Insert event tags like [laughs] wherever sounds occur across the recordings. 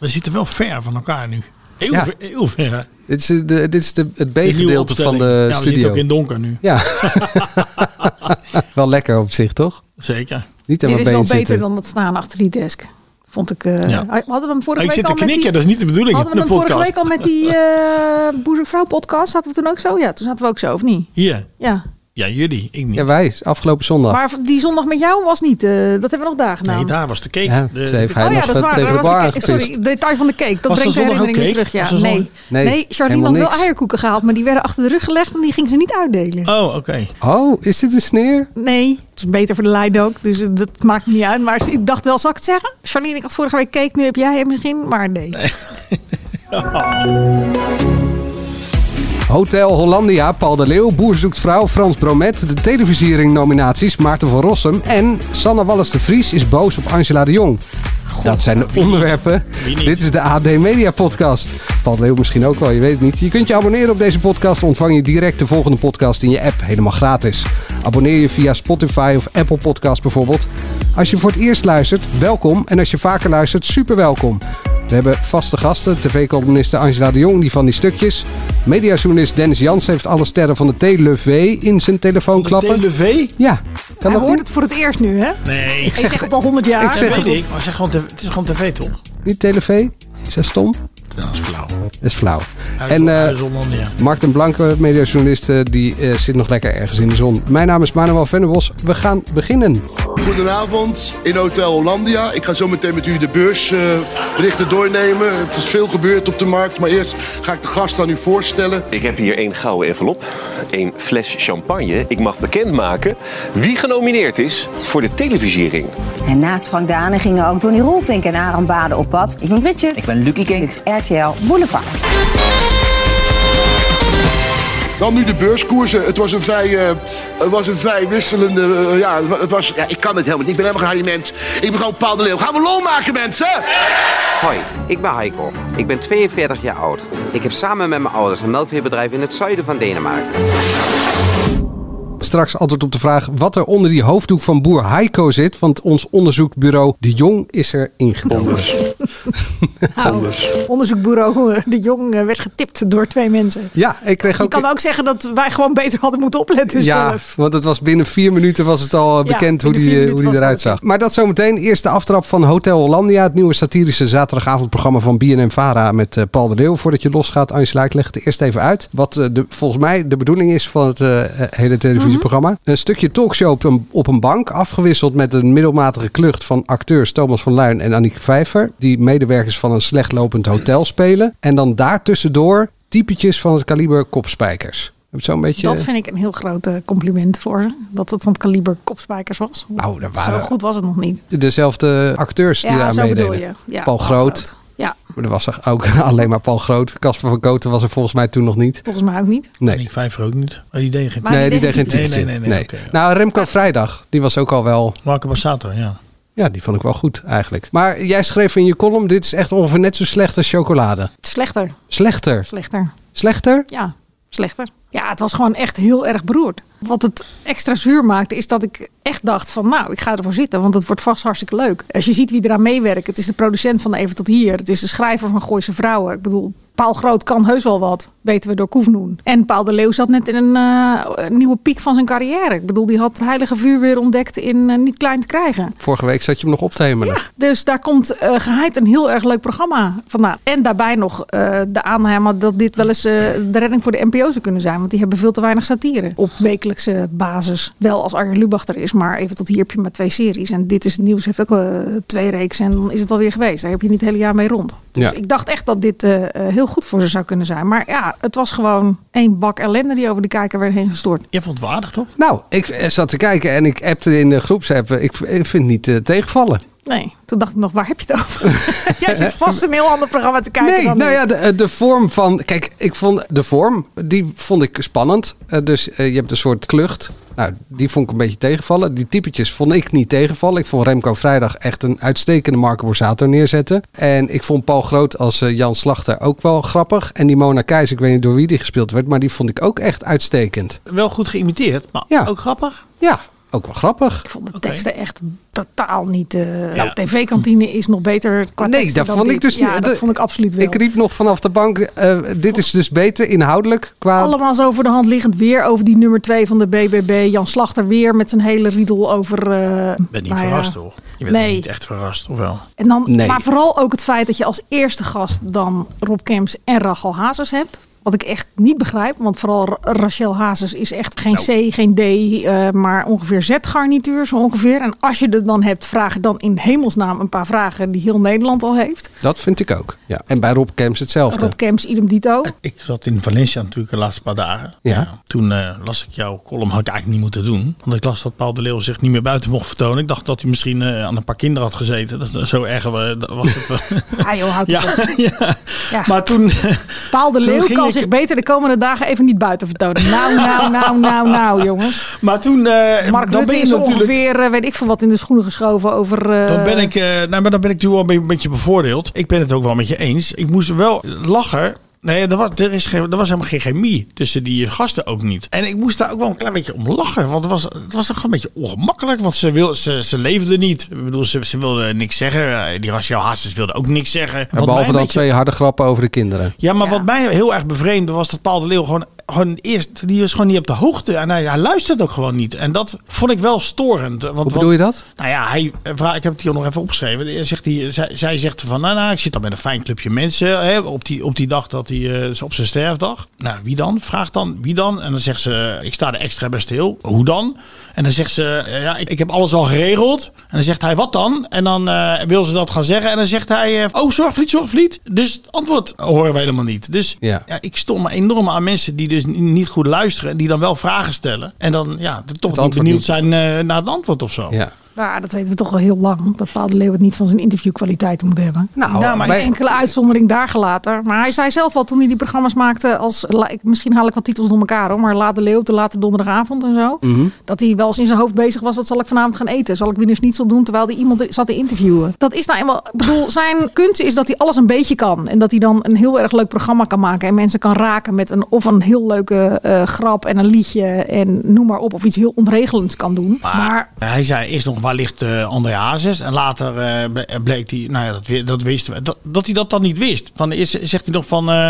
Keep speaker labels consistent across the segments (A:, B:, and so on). A: We zitten wel ver van elkaar nu. Heel,
B: Ja.
A: ver, heel ver.
B: Dit is, de, dit is de, het
A: Die nieuwe
B: B-gedeelte
A: opstelling.
B: van de
A: ja, We zitten
B: studio.
A: ook in het donker nu.
B: Ja. [laughs] wel lekker op zich, toch?
A: Zeker.
B: Niet aan
C: Dit
B: mijn
C: is wel
B: been
C: beter
B: zitten.
C: dan dat staan achter die desk. Vond ik. eh,
A: Ja. Oh,
C: We hadden we hem vorige
A: Ah, ik
C: week
A: zit te
C: al met
A: knikken,
C: die,
A: dat is niet de bedoeling
C: Hadden
A: van
C: we
A: de
C: hem vorige
A: podcast.
C: week al met die eh boezemvrouw podcast? Zaten we toen ook zo? Ja, toen zaten we ook zo, of niet?
A: Hier.
C: Ja.
A: Ja, jullie. Ik niet.
B: Ja, wij. Afgelopen zondag.
C: Maar die zondag met jou was niet. eh, dat hebben we nog daar gedaan.
A: nee, daar was de cake.
B: ja,
A: De-
B: ze heeft hij
C: oh Nou.
B: nog
C: ja, dat is waar.
B: tegen
C: Daar
B: de
C: was
B: bar
C: de cake-
B: gepist.
C: sorry, detail van de cake. Dat
A: Was
C: brengt
A: er
C: de
A: zondag ook
C: herinnering weer
A: cake?
C: terug. Ja.
A: Was er zondag-
C: Nee.
B: Nee,
C: Nee, Charlene
B: helemaal
C: had wel
B: niks.
C: eierkoeken gehaald, maar die werden achter de rug gelegd en die ging ze niet uitdelen.
A: Oh, oké.
B: Oh, is dit een sneer?
C: Nee, het is beter voor de leid ook, dus eh, dat maakt niet uit. Maar ik dacht wel, zal ik het zeggen? Charlene, ik had vorige week cake, nu heb jij hem misschien, maar nee.
B: Hotel Hollandia, Paul de Leeuw, Boer zoekt vrouw, Frans Bromet, de televisiering nominaties, Maarten van Rossum en Sanne Wallis de Vries is boos op Angela de Jong. dat zijn de onderwerpen.
A: Wie niet?
B: Dit is de AD Media Podcast. Paul de Leeuw misschien ook wel, je weet het niet. Je kunt je abonneren op deze podcast. Ontvang je direct de volgende podcast in je app, helemaal gratis. Abonneer je via Spotify of Apple Podcast bijvoorbeeld. Als je voor het eerst luistert, welkom. En als je vaker luistert, super welkom. We hebben vaste gasten, tv-columniste Angela de Jong, die van die stukjes. Mediajournalist Dennis Jans heeft alle sterren van de TLV in zijn telefoon klappen.
A: TV?
B: Ja, kan
C: Hij
B: dat
C: hoort
B: niet?
C: het voor het eerst nu, hè?
A: Nee.
C: Ik zeg het al honderd jaar.
B: ik zeg
A: dat
B: het [laughs]
A: weet ik. Maar zeg gewoon tv, het is gewoon tv, toch?
B: Niet TLV? Is dat stom?
A: Dat is flauw.
B: Dat is flauw.
A: en,
B: eh,
A: ja.
B: Mark den Blanke, mediajournalist, eh, die eh, zit nog lekker ergens in de zon. Mijn naam is Manuel Vennebos. We gaan beginnen.
D: Goedenavond in Hotel Hollandia. Ik ga zo meteen met u de beursberichten doornemen. Het is veel gebeurd op de markt, maar eerst ga ik de gast aan u voorstellen.
E: Ik heb hier één gouden envelop, één fles champagne. Ik mag bekendmaken wie genomineerd is voor de televisiering.
F: En naast Frank Dane gingen ook Donnie Roelvink en Aaron Baden op pad. Ik ben Bridget.
G: Ik ben Lucky Kink.
F: Dit is RTL Boulevard.
D: Dan nu de beurskoersen. Het was een vrij, eh, het was een vrij wisselende... eh, ja, het wa- het was, ja, ik kan het helemaal niet. Ik ben helemaal geen harde mens. Ik ben gewoon Paul de Leeuw. Gaan we lol maken, mensen!
G: Hoi, ik ben Heiko. Ik ben 42 jaar oud. Ik heb samen met mijn ouders een melkveebedrijf in het zuiden van Denemarken.
B: Straks antwoord op de vraag wat er onder die hoofddoek van boer Heiko zit. Want ons onderzoekbureau De Jong is er ingedoken.
C: Onderzoekbureau Nou, eh, De Jong eh, werd getipt door twee mensen.
B: Ja, ik kreeg
C: Je
B: ook...
C: kan ook zeggen dat wij gewoon beter hadden moeten opletten
B: ja,
C: zelf.
B: want het was binnen vier minuten was het al eh,
C: Ja,
B: bekend hoe
C: binnen
B: die,
C: vier
B: eh, hoe die
C: minuten was
B: eruit
C: het al
B: zag. Maar dat zometeen. Eerst de aftrap van Hotel Hollandia. Het nieuwe satirische zaterdagavondprogramma van BNM-Vara met eh, Paul de Leeuw. Voordat je losgaat, Angela, ik leg het eerst even uit. Wat eh, de, volgens mij de bedoeling is van het eh, hele televisieprogramma.
C: Mhm.
B: Een stukje talkshow op een, op een bank. Afgewisseld met een middelmatige klucht van acteurs Thomas van Luin en Annieke Vijver. Die medewerkers van een slechtlopend hotel spelen. En dan daartussendoor typetjes van het kaliber kopspijkers. Heb je het zo een beetje...
C: Dat vind ik een heel groot eh, compliment voor ze. Dat het van het kaliber kopspijkers was.
B: Nou, daar waren-
C: Zo goed was het nog niet.
B: dezelfde acteurs die
C: ja,
B: daar
C: zo
B: meededen.
C: bedoel je. Ja,
B: Paul Groot.
C: Ja,
B: Maar er was er ook [laughs] alleen maar Paul Groot. Casper van Koten was er volgens mij toen nog niet.
C: volgens mij ook niet.
B: Nee,
A: Ik vijf ook niet. Oh, die deed geen
C: Maar-
B: nee die
C: die
B: deed geen
C: deed
A: niet.
B: typetje.
A: Nee, nee, nee, nee, oké.
B: Nou, Remco Vrijdag, die was ook al wel...
A: Marco Bassato, ja.
B: Ja, die vond ik wel goed eigenlijk. Maar jij schreef in je column, dit is echt ongeveer net zo slecht als chocolade.
C: Slechter,
B: Slechter.
C: slechter.
B: Slechter?
C: Ja, slechter. Ja, het was gewoon echt heel erg beroerd. Wat het extra zuur maakte is dat ik echt dacht van nou, ik ga ervoor zitten. Want het wordt vast hartstikke leuk. Als je ziet wie eraan meewerkt. Het is de producent van de Even Tot Hier. Het is de schrijver van Gooise Vrouwen. Ik bedoel, Paul Groot kan heus wel wat. Weten we door Koefnoen. En Paul de Leeuw zat net in een eh, nieuwe piek van zijn carrière. Ik bedoel, die had heilige vuur weer ontdekt in eh, Niet Klein te Krijgen.
B: Vorige week zat je hem nog op te hemelen.
C: Ja, dus daar komt eh geheid een heel erg leuk programma vandaan. En daarbij nog eh, de aanname dat dit wel eens eh, de redding voor de NPO zou kunnen zijn. Want die hebben veel te weinig satire op wekelijkse basis. Wel als Arjen Lubach er is, maar even tot hier heb je maar twee series. En Dit is het Nieuws heeft ook eh, twee reeksen en dan is het alweer geweest. Daar heb je niet het hele jaar mee rond. Dus
B: Ja.
C: ik dacht echt dat dit eh, eh, heel goed voor ze zou kunnen zijn. Maar ja, het was gewoon één bak ellende die over de kijker werd heen gestort.
A: Je vond het waardig, toch?
B: Nou, ik eh, zat te kijken en ik appte in de groepsapp. Ik, ik vind het niet eh, tegenvallen.
C: Nee, toen dacht ik nog, waar heb je het over? [laughs] Jij zit vast een heel ander programma te kijken
B: nee,
C: dan
B: nou
C: dit.
B: ja, de, de vorm van... Kijk, ik vond de vorm, die vond ik spannend. Eh, dus eh, je hebt een soort klucht. Nou, die vond ik een beetje tegenvallen. Die typetjes vond ik niet tegenvallen. Ik vond Remco Vrijdag echt een uitstekende Marco Borsato neerzetten. En ik vond Paul Groot als eh, Jan Slachter ook wel grappig. En die Mona Keijs, ik weet niet door wie die gespeeld werd... maar die vond ik ook echt uitstekend.
A: Wel goed geïmiteerd, maar
B: Ja.
A: ook grappig.
B: Ja, Ook wel grappig.
C: Ik vond de teksten echt totaal niet. eh, Nou, tv-kantine is nog beter. Qua
B: Nee,
C: teksten
B: dat
C: dan
B: vond ik
C: dit.
B: dus
C: Ja,
B: niet.
C: dat
B: De-
C: vond ik absoluut wel.
B: Ik riep nog vanaf de bank, eh, dit is dus beter inhoudelijk qua...
C: Allemaal zo voor de hand liggend weer over die nummer 2 van de BBB. Jan Slachter weer met zijn hele riedel over. eh
A: Ik ben niet
C: nou ja.
A: verrast, hoor. Je bent
C: Nee.
A: niet echt verrast, of wel?
C: En dan,
B: Nee.
C: Maar vooral ook het feit dat je als eerste gast dan Rob Kemps en Rachel Hazes hebt. Wat ik echt niet begrijp, want vooral Ra- Rachel Hazes is echt geen C, geen D, eh, maar ongeveer Z-garnituur zo ongeveer. En als je er dan hebt, vraag dan in hemelsnaam een paar vragen die heel Nederland al heeft.
B: Dat vind ik ook. Ja. En bij Rob Kemps hetzelfde.
C: Rob Kemps, idem dito.
A: Ik zat in Valencia natuurlijk de laatste paar dagen.
B: Ja.
A: toen eh, las ik jouw column, had ik eigenlijk niet moeten doen. Want ik las dat Paul de Leeuw zich niet meer buiten mocht vertonen. Ik dacht dat hij misschien eh, aan een paar kinderen had gezeten. Dat, is zo erg eh, dat was het.
C: [laughs]
A: wel.
C: Ah joh, houd op.
A: ja, [laughs] ja.
C: Ja.
A: maar toen... eh,
C: Paal de
A: Toen
C: Leeuw
A: ging
C: kan
A: ik-
C: zich beter de komende dagen even niet buiten vertonen. Nou, nou, nou, nou, nou, jongens.
A: Maar toen... eh,
C: Mark
A: dan
C: Rutte
A: ben je
C: is er
A: natuurlijk...
C: ongeveer, eh, weet ik veel wat, in de schoenen geschoven over... eh,
A: Dan ben ik, eh, nou, maar dan ben ik natuurlijk wel een beetje- een beetje bevoordeeld. Ik ben het ook wel met je eens. Ik moest wel lachen. Nee, er was, er, is geen, er was helemaal geen chemie tussen die gasten ook niet. En ik moest daar ook wel een klein beetje om lachen. Want het was, het was toch een beetje ongemakkelijk. Want ze, wil, ze, ze leefde niet. Ik bedoel, ze, ze wilde niks zeggen. Eh, Die Rachel Hassens wilde ook niks zeggen. Wat
B: En
A: mij
B: behalve
A: een
B: dan
A: beetje-
B: twee harde grappen over de kinderen.
A: ja, maar
C: Ja.
A: wat mij heel erg bevreemde was dat Paul de Leeuw gewoon, gewoon eerst... Die was gewoon niet op de hoogte. En hij, hij luisterde ook gewoon niet. En dat vond ik wel storend. Want,
B: Hoe bedoel je dat?
A: nou ja, hij, eh, vra- ik heb het hier nog even opgeschreven. Eh, Zegt hij, zij, zij zegt van, nou, nou, ik zit dan met een fijn clubje mensen hè, op, die, op die dag dat hij, eh, is op zijn sterfdag. Nou, wie dan? Vraagt dan, wie dan? En dan zegt ze, ik sta er extra bij stil. Hoe dan? En dan zegt ze, eh, ja, ik, ik heb alles al geregeld. En dan zegt hij, wat dan? En dan eh, wil ze dat gaan zeggen. En dan zegt hij, eh, oh, zorgvliet, zorgvliet. Dus het antwoord horen we helemaal niet. Dus
B: Ja.
A: ja. ik stom me enorm aan mensen die dus n- niet goed luisteren. En die dan wel vragen stellen. En dan ja, toch niet
B: antwoord
A: benieuwd
B: niet.
A: zijn eh, naar het antwoord of
C: Nou,
A: zo.
B: Ja.
C: Maar dat weten we toch al heel lang. Dat Paal de Leeuw het niet van zijn interviewkwaliteiten moet hebben.
B: Nou,
A: Nou, maar-
B: bij-
C: Enkele uitzondering daar gelaten. Maar hij zei zelf al toen hij die programma's maakte. Als, la- ik- misschien haal ik wat titels door elkaar hoor. Maar Laat de Leeuw op de late donderdagavond en zo. Dat hij wel eens in zijn hoofd bezig was. Wat zal ik vanavond gaan eten? Zal ik weer niet zo doen terwijl hij iemand zat te interviewen? Dat is nou eenmaal. Ik bedoel, zijn kunst is dat hij alles een beetje kan. En dat hij dan een heel erg leuk programma kan maken. En mensen kan raken met een of een heel leuke eh, grap en een liedje. En noem maar op. Of iets heel ontregelends kan doen. maar
A: Hij zei eerst nog waar ligt eh, André Hazes. En later eh, ble- bleek hij, nou ja, dat, wi- dat wisten we. Dat, dat hij dat dan niet wist. Dan is, zegt hij nog van, eh,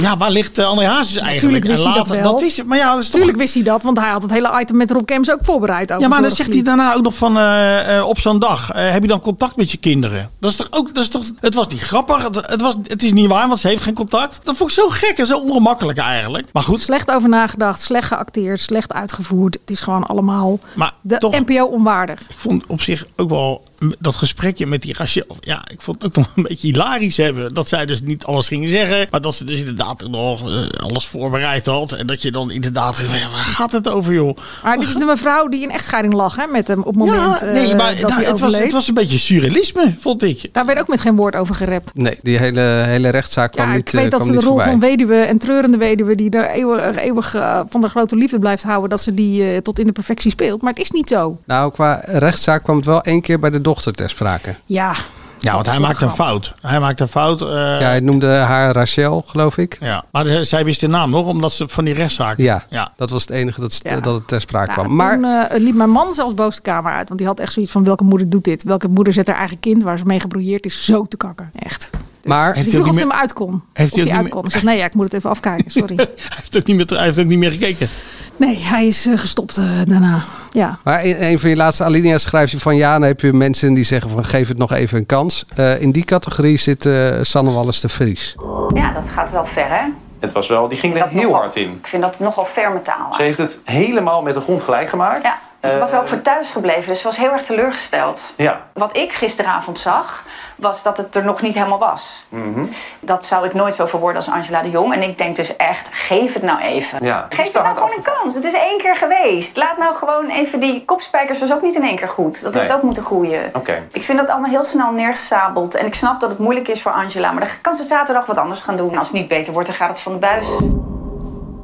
A: ja, waar ligt eh, André Hazes eigenlijk?
C: wist
A: en
C: hij dat wel.
A: wist hij, maar ja, dat is toch-
C: Tuurlijk wist hij dat, want hij had het hele item met Rob Kemps ook voorbereid. Over
A: Ja, maar dan
C: vorig
A: zegt hij
C: lied.
A: daarna ook nog van, eh, eh, op zo'n dag, eh, heb je dan contact met je kinderen? Dat is toch ook, dat is toch, het was niet grappig, het, het was, het is niet waar, want ze heeft geen contact. Dat vond ik zo gek en zo ongemakkelijk eigenlijk. Maar goed,
C: Slecht over nagedacht, slecht geacteerd, slecht uitgevoerd. Het is gewoon allemaal
A: Maar
C: de
A: toch-
C: NPO onwaardig.
A: Ik vond op zich ook wel m- dat gesprekje met die Rachel. Ja, ik vond het ook [laughs] nog een beetje hilarisch hebben. Dat zij dus niet alles ging zeggen. Maar dat ze dus inderdaad ook nog eh, alles voorbereid had. En dat je dan inderdaad. denkt, ja, waar gaat het over, joh?
C: Maar dit is de mevrouw die in echtscheiding lag hè, met hem op het moment
A: ja, nee,
C: eh,
A: maar
C: dat
A: nou,
C: hij
A: het, was,
C: overleed.
A: het was een beetje surrealisme, vond ik.
C: Daar werd ook met geen woord over gerept.
B: Nee, die hele, hele rechtszaak kwam
C: Ja,
B: niet,
C: ik weet
B: eh,
C: dat
B: kwam
C: ze de
B: niet
C: rol
B: voorbij.
C: van weduwe en treurende weduwe... die er eeuwig, eeuwig eh, van de grote liefde blijft houden... dat ze die eh, tot in de perfectie speelt. Maar het is niet zo.
B: Nou, qua rechtszaak kwam het wel één keer bij de dochter ter sprake.
C: Ja,
A: Ja, want hij maakte een fout. Hij maakte een fout. eh,
B: Ja,
A: ja.
B: hij noemde haar Rachel, geloof ik.
A: Maar zij- zij wist de naam nog, omdat ze van die rechtszaak.
B: Ja,
A: ja. [laughs]
B: dat was het enige dat,
C: Ja.
B: dat het ter sprake
C: Ja,
B: kwam. Maar
C: Toen eh, liep mijn man zelfs boos de kamer uit. Want die had echt zoiets van welke moeder doet dit? Welke moeder zet haar eigen kind waar ze mee gebrouilleerd is zo te kakken? Echt.
B: Maar-
C: die
A: Heeft hij ook
C: vroeg
A: niet
C: of hij
A: meer-
C: hem uit kon.
A: hij ook
C: of
A: niet
C: hij
A: meer-
C: uit kon. Ik zeg nee, ja, ik moet het even afkijken.
A: [laughs]
C: Sorry.
A: Hij, heeft ook niet meer, hij heeft ook niet meer gekeken.
C: Nee, hij is eh, gestopt eh, daarna. Ja.
B: Maar in een van je laatste alinea's schrijf je van ja, dan heb je mensen die zeggen van geef het nog even een kans. Eh, in die categorie zit eh Sanne Wallis de Vries.
H: Ja, dat gaat wel ver, hè?
I: Het was wel, die ging er
H: Dat
I: heel
H: nogal-
I: hard in.
H: Ik vind dat nogal ferme taal.
I: Ze heeft het helemaal met de grond gelijk gemaakt.
H: Ja, ze was
I: Eh,
H: ook voor thuis gebleven, dus ze was heel erg teleurgesteld.
I: Ja.
H: Wat ik gisteravond zag, was dat het er nog niet helemaal was.
I: Mhm.
H: Dat zou ik nooit zo verwoorden als Angela de Jong. En ik denk dus echt, geef het nou even.
I: Ja, het is
H: geef het
I: te
H: nou
I: hard
H: gewoon een kans. Het is één keer geweest. Laat nou gewoon even die kopspijkers, was ook niet in één keer goed. Dat heeft
I: Nee.
H: ook moeten groeien.
I: Oké.
H: Ik vind dat allemaal heel snel neergesabeld. En ik snap dat het moeilijk is voor Angela. Maar dan kan ze zaterdag wat anders gaan doen. En als het niet beter wordt, dan gaat het van de buis.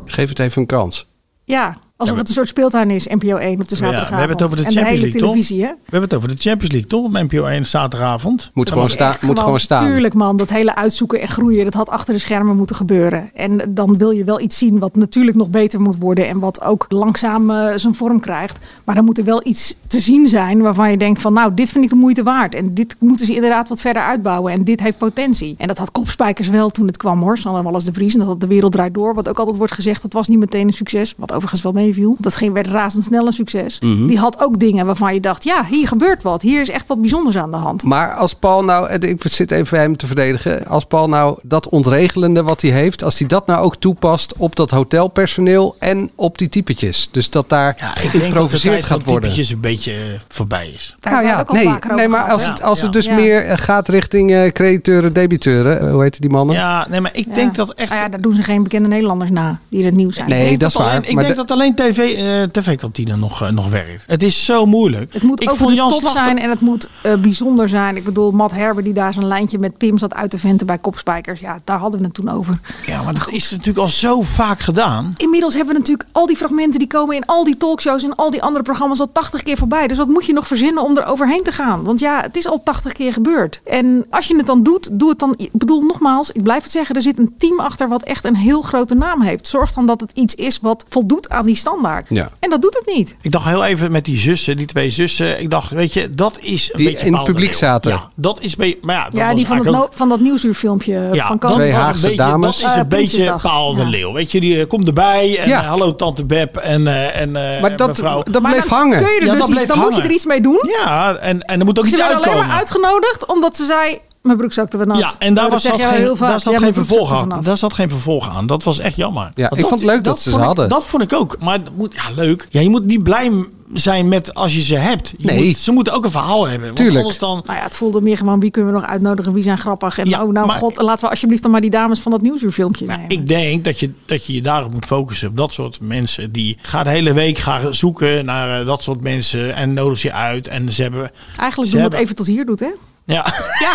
B: Geef het even een kans.
C: ja. Alsof
A: we-
C: het een soort speeltuin is, NPO 1 op de
A: Ja, we
C: zaterdagavond.
A: hebben het over de
C: en de
A: Champions
C: hele
A: League, toch?
C: televisie, hè?
A: We hebben het over de Champions League, toch? Op NPO 1 zaterdagavond.
B: Moet gewoon, sta,
C: Echt
B: moet gewoon staan.
C: Tuurlijk man, dat hele uitzoeken en groeien, dat had achter de schermen moeten gebeuren. En dan wil je wel iets zien wat natuurlijk nog beter moet worden en wat ook langzaam eh, zijn vorm krijgt. Maar dan moet er wel iets te zien zijn waarvan je denkt van nou, dit vind ik de moeite waard. En dit moeten ze inderdaad wat verder uitbouwen en dit heeft potentie. En dat had Kopspijkers wel toen het kwam hoor, Sanne Wallis de Vries en dat had De Wereld Draait Door. Wat ook altijd wordt gezegd, dat was niet meteen een succes, wat overigens wel meeviel. Dat ging, werd razendsnel een succes.
B: Mhm.
C: Die had ook dingen waarvan je dacht, ja, hier gebeurt wat. Hier is echt wat bijzonders aan de hand.
B: Maar als Paul nou, en ik zit even hem te verdedigen. Als Paul nou dat ontregelende wat hij heeft, als hij dat nou ook toepast op dat hotelpersoneel en op die typetjes. Dus dat daar geïmproviseerd gaat worden.
A: Het een beetje eh, voorbij is.
C: Daar hebben we het ook al
B: Nou nee,
C: vaker
B: nee
C: over
B: maar
C: gehad,
B: als
C: hè?
B: het, als
A: Ja.
B: het dus
C: Nou Ja.
B: meer eh, gaat richting eh, crediteuren, debiteuren, eh, hoe heet die mannen?
A: Ja, nee, maar ik
C: Ja.
A: denk dat echt...
C: Nou ja, daar doen ze geen bekende Nederlanders na die in het nieuws zijn.
B: Nee,
A: ik denk
B: dat is waar,
A: alleen- ik
B: maar
A: denk
B: de-
A: dat alleen TV, eh, TV-kantine nog, eh, nog werkt. Het is zo moeilijk.
C: Het moet
A: ik
C: over
A: vond
C: de
A: Jan
C: top
A: Slachter-
C: zijn en het moet eh, bijzonder zijn. Ik bedoel, Matt Herber die daar zijn lijntje met Pim zat uit te venten bij Kopspijkers. Ja, daar hadden we het toen over.
A: Ja, maar dat is natuurlijk al zo vaak gedaan.
C: Inmiddels hebben we natuurlijk al die fragmenten die komen in al die talkshows en al die andere programma's al 80 keer voorbij. Dus wat moet je nog verzinnen om er overheen te gaan? Want ja, het is al 80 keer gebeurd. En als je het dan doet, doe het dan. Ik bedoel, nogmaals, ik blijf het zeggen, er zit een team achter wat echt een heel grote naam heeft. Zorg dan dat het iets is wat voldoet aan die standaard.
B: Ja.
C: En dat doet het niet.
A: Ik dacht heel even met die zussen, die twee zussen. Ik dacht, weet je, dat is een
B: Die
A: beetje
B: in het
A: Paul de
B: publiek
A: Leeuw.
B: zaten.
A: Ja, dat is... be- Maar ja, dat
C: ja,
A: was
C: die van, het
A: eigenlijk
C: no-
A: ook-
C: van dat nieuwshuurfilmpje
A: Ja,
C: van
A: dat
C: Koos.
A: was
B: Twee
A: een
B: Haagse
A: beetje-
B: dames.
A: Dat is een
C: Eh,
A: beetje
C: Prinsjesdag.
A: Paul de
C: Ja.
A: Leeuw. Weet je, die eh, komt erbij. En
B: Ja.
A: eh, hallo tante Beb en, eh, en eh,
B: maar dat,
A: mevrouw.
B: dat
C: Maar
B: bleef
C: dan
B: hangen.
C: Kun je er
A: Ja,
C: dus
A: dat
C: iets-
A: bleef
C: dan moet je er
A: hangen.
C: iets mee doen.
A: Ja, en, en er moet ook
C: Ze
A: iets
C: werden alleen
A: uitkomen.
C: maar uitgenodigd omdat ze zei... Mijn broek zakte vanaf.
A: Ja, en daar,
C: Dat
A: was
C: zeg
A: zat
C: jij wel
A: geen,
C: heel vaak.
A: daar zat
C: Ja,
A: geen
C: mijn broek zakte
A: vervolg aan.
C: vanaf.
A: Daar zat geen vervolg aan. Dat was echt jammer.
B: Ja,
A: Want
B: ik vond het leuk dat ze ze
A: vond ik-
B: hadden.
A: Dat vond ik ook. Maar het moet, ja, leuk. Ja, je moet niet blij m- zijn met als je ze hebt. Je
B: Nee.
A: moet- ze moeten ook een verhaal hebben. Want
B: Tuurlijk.
A: Anders dan,
C: Nou ja, het voelde meer gewoon wie kunnen we nog uitnodigen, wie zijn grappig. En
A: Ja,
C: oh, nou
A: maar-
C: god, laten we alsjeblieft dan maar die dames van dat nieuwsuurfilmpje nemen.
A: ik denk dat je, dat je je daarop moet focussen. Op dat soort mensen die gaan de hele week gaan zoeken naar eh, dat soort mensen. En nodig ze uit. En ze hebben... ze
C: Eigenlijk doen we het
A: hebben-
C: even tot hier doet, hè?
A: Ja, [laughs]
C: Ja,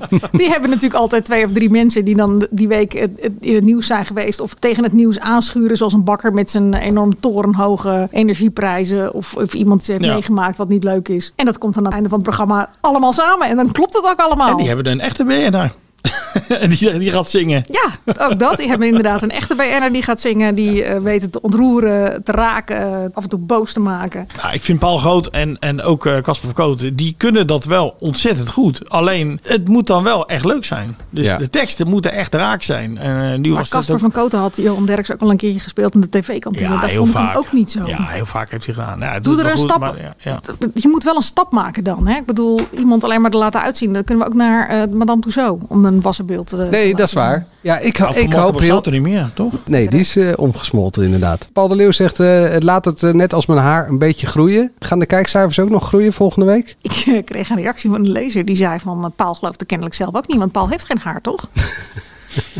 C: [laughs] die hebben natuurlijk altijd twee of drie mensen die dan die week het- het- in het nieuws zijn geweest. Of tegen het nieuws aanschuren, zoals een bakker met zijn enorm torenhoge energieprijzen. Of, of iemand die heeft
A: Ja.
C: meegemaakt wat niet leuk is. En dat komt dan aan het einde van het programma allemaal samen. En dan klopt het ook allemaal.
A: en die hebben een echte BN'er. [laughs] die, die gaat zingen.
C: Ja, ook dat. Die hebben inderdaad een echte BN'er die gaat zingen. Die eh weten te ontroeren, te raken, eh, af en toe boos te maken.
A: Ja, Nou, ik vind Paul Groot en, en ook eh, Casper Verkoten, die kunnen dat wel ontzettend goed. Alleen, het moet dan wel echt leuk zijn. Dus
B: Ja.
A: de teksten moeten echt raak zijn. En eh, nu
C: Maar
A: was dat
C: Casper
A: ook...
C: van Koten had Johan Derks ook al een keertje gespeeld in de tv-kantine. dat vond ik hem ook niet zo.
A: Ja, heel vaak heeft hij gedaan. Ja, hij
C: Doe
A: doet
C: er een
A: het wel
C: stap.
A: goed, maar ja, ja.
C: Je moet wel een stap maken dan. Hè? Ik bedoel, iemand alleen maar te laten uitzien. Dan kunnen we ook naar eh, Madame Tussaud om een wassenbeeld eh, te
B: Nee, dat is
C: laten
B: waar. Ja, ik,
A: Nou,
B: ik
A: Van
B: hoop
A: Marken
B: heel...
A: bestaat er niet meer, toch?
B: Nee, die is eh, omgesmolten inderdaad. Paul de Leeuw zegt, eh, laat het eh, net als mijn haar een beetje groeien. Gaan de kijkcijfers ook nog groeien volgende week?
C: zien. Ik eh, kreeg een reactie van een lezer die zei van... eh, Paul gelooft het kennelijk zelf ook niet, want Paul heeft geen haar, toch?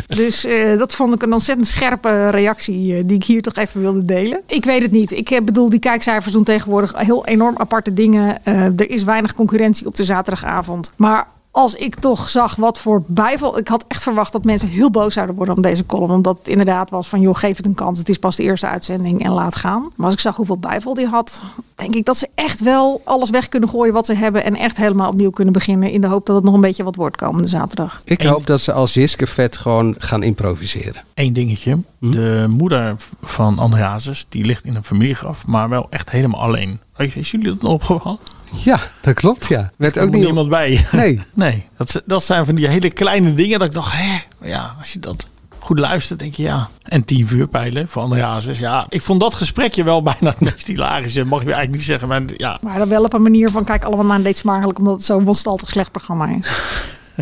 C: Dus eh, dat vond ik een ontzettend scherpe reactie eh, die ik hier toch even wilde delen. Ik weet het niet. Ik eh, bedoel, die kijkcijfers doen tegenwoordig heel enorm aparte dingen. Eh, er is weinig concurrentie op de zaterdagavond. Maar als ik toch zag wat voor bijval... Ik had echt verwacht dat mensen heel boos zouden worden om deze column. Omdat het inderdaad was van, joh, geef het een kans. Het is pas de eerste uitzending en laat gaan. Maar als ik zag hoeveel bijval die had... denk ik dat ze echt wel alles weg kunnen gooien wat ze hebben... en echt helemaal opnieuw kunnen beginnen... in de hoop dat het nog een beetje wat wordt komende zaterdag.
B: Ik hoop dat ze als Jiske vet gewoon gaan improviseren.
A: Eén dingetje. De moeder van Andreasus, die ligt in een familiegraf, maar wel echt helemaal alleen. Weet je, Is jullie dat nog opgevallen?
B: Ja, dat klopt ja. Werd
A: Er
B: ook
A: moet
B: niet...
A: niemand bij. [laughs]
B: Nee.
A: Nee, dat, dat zijn van die hele kleine dingen dat ik dacht, hè, maar ja, als je dat goed luistert, denk je ja. En tien vuurpijlen van André Hazes, ja. Ik vond dat gesprekje wel [laughs] bijna het meest hilarische, mag je eigenlijk niet zeggen, maar ja.
C: Maar dan wel op een manier van kijk allemaal naar een deed smakelijk, omdat het zo'n wanstaltig slecht programma is.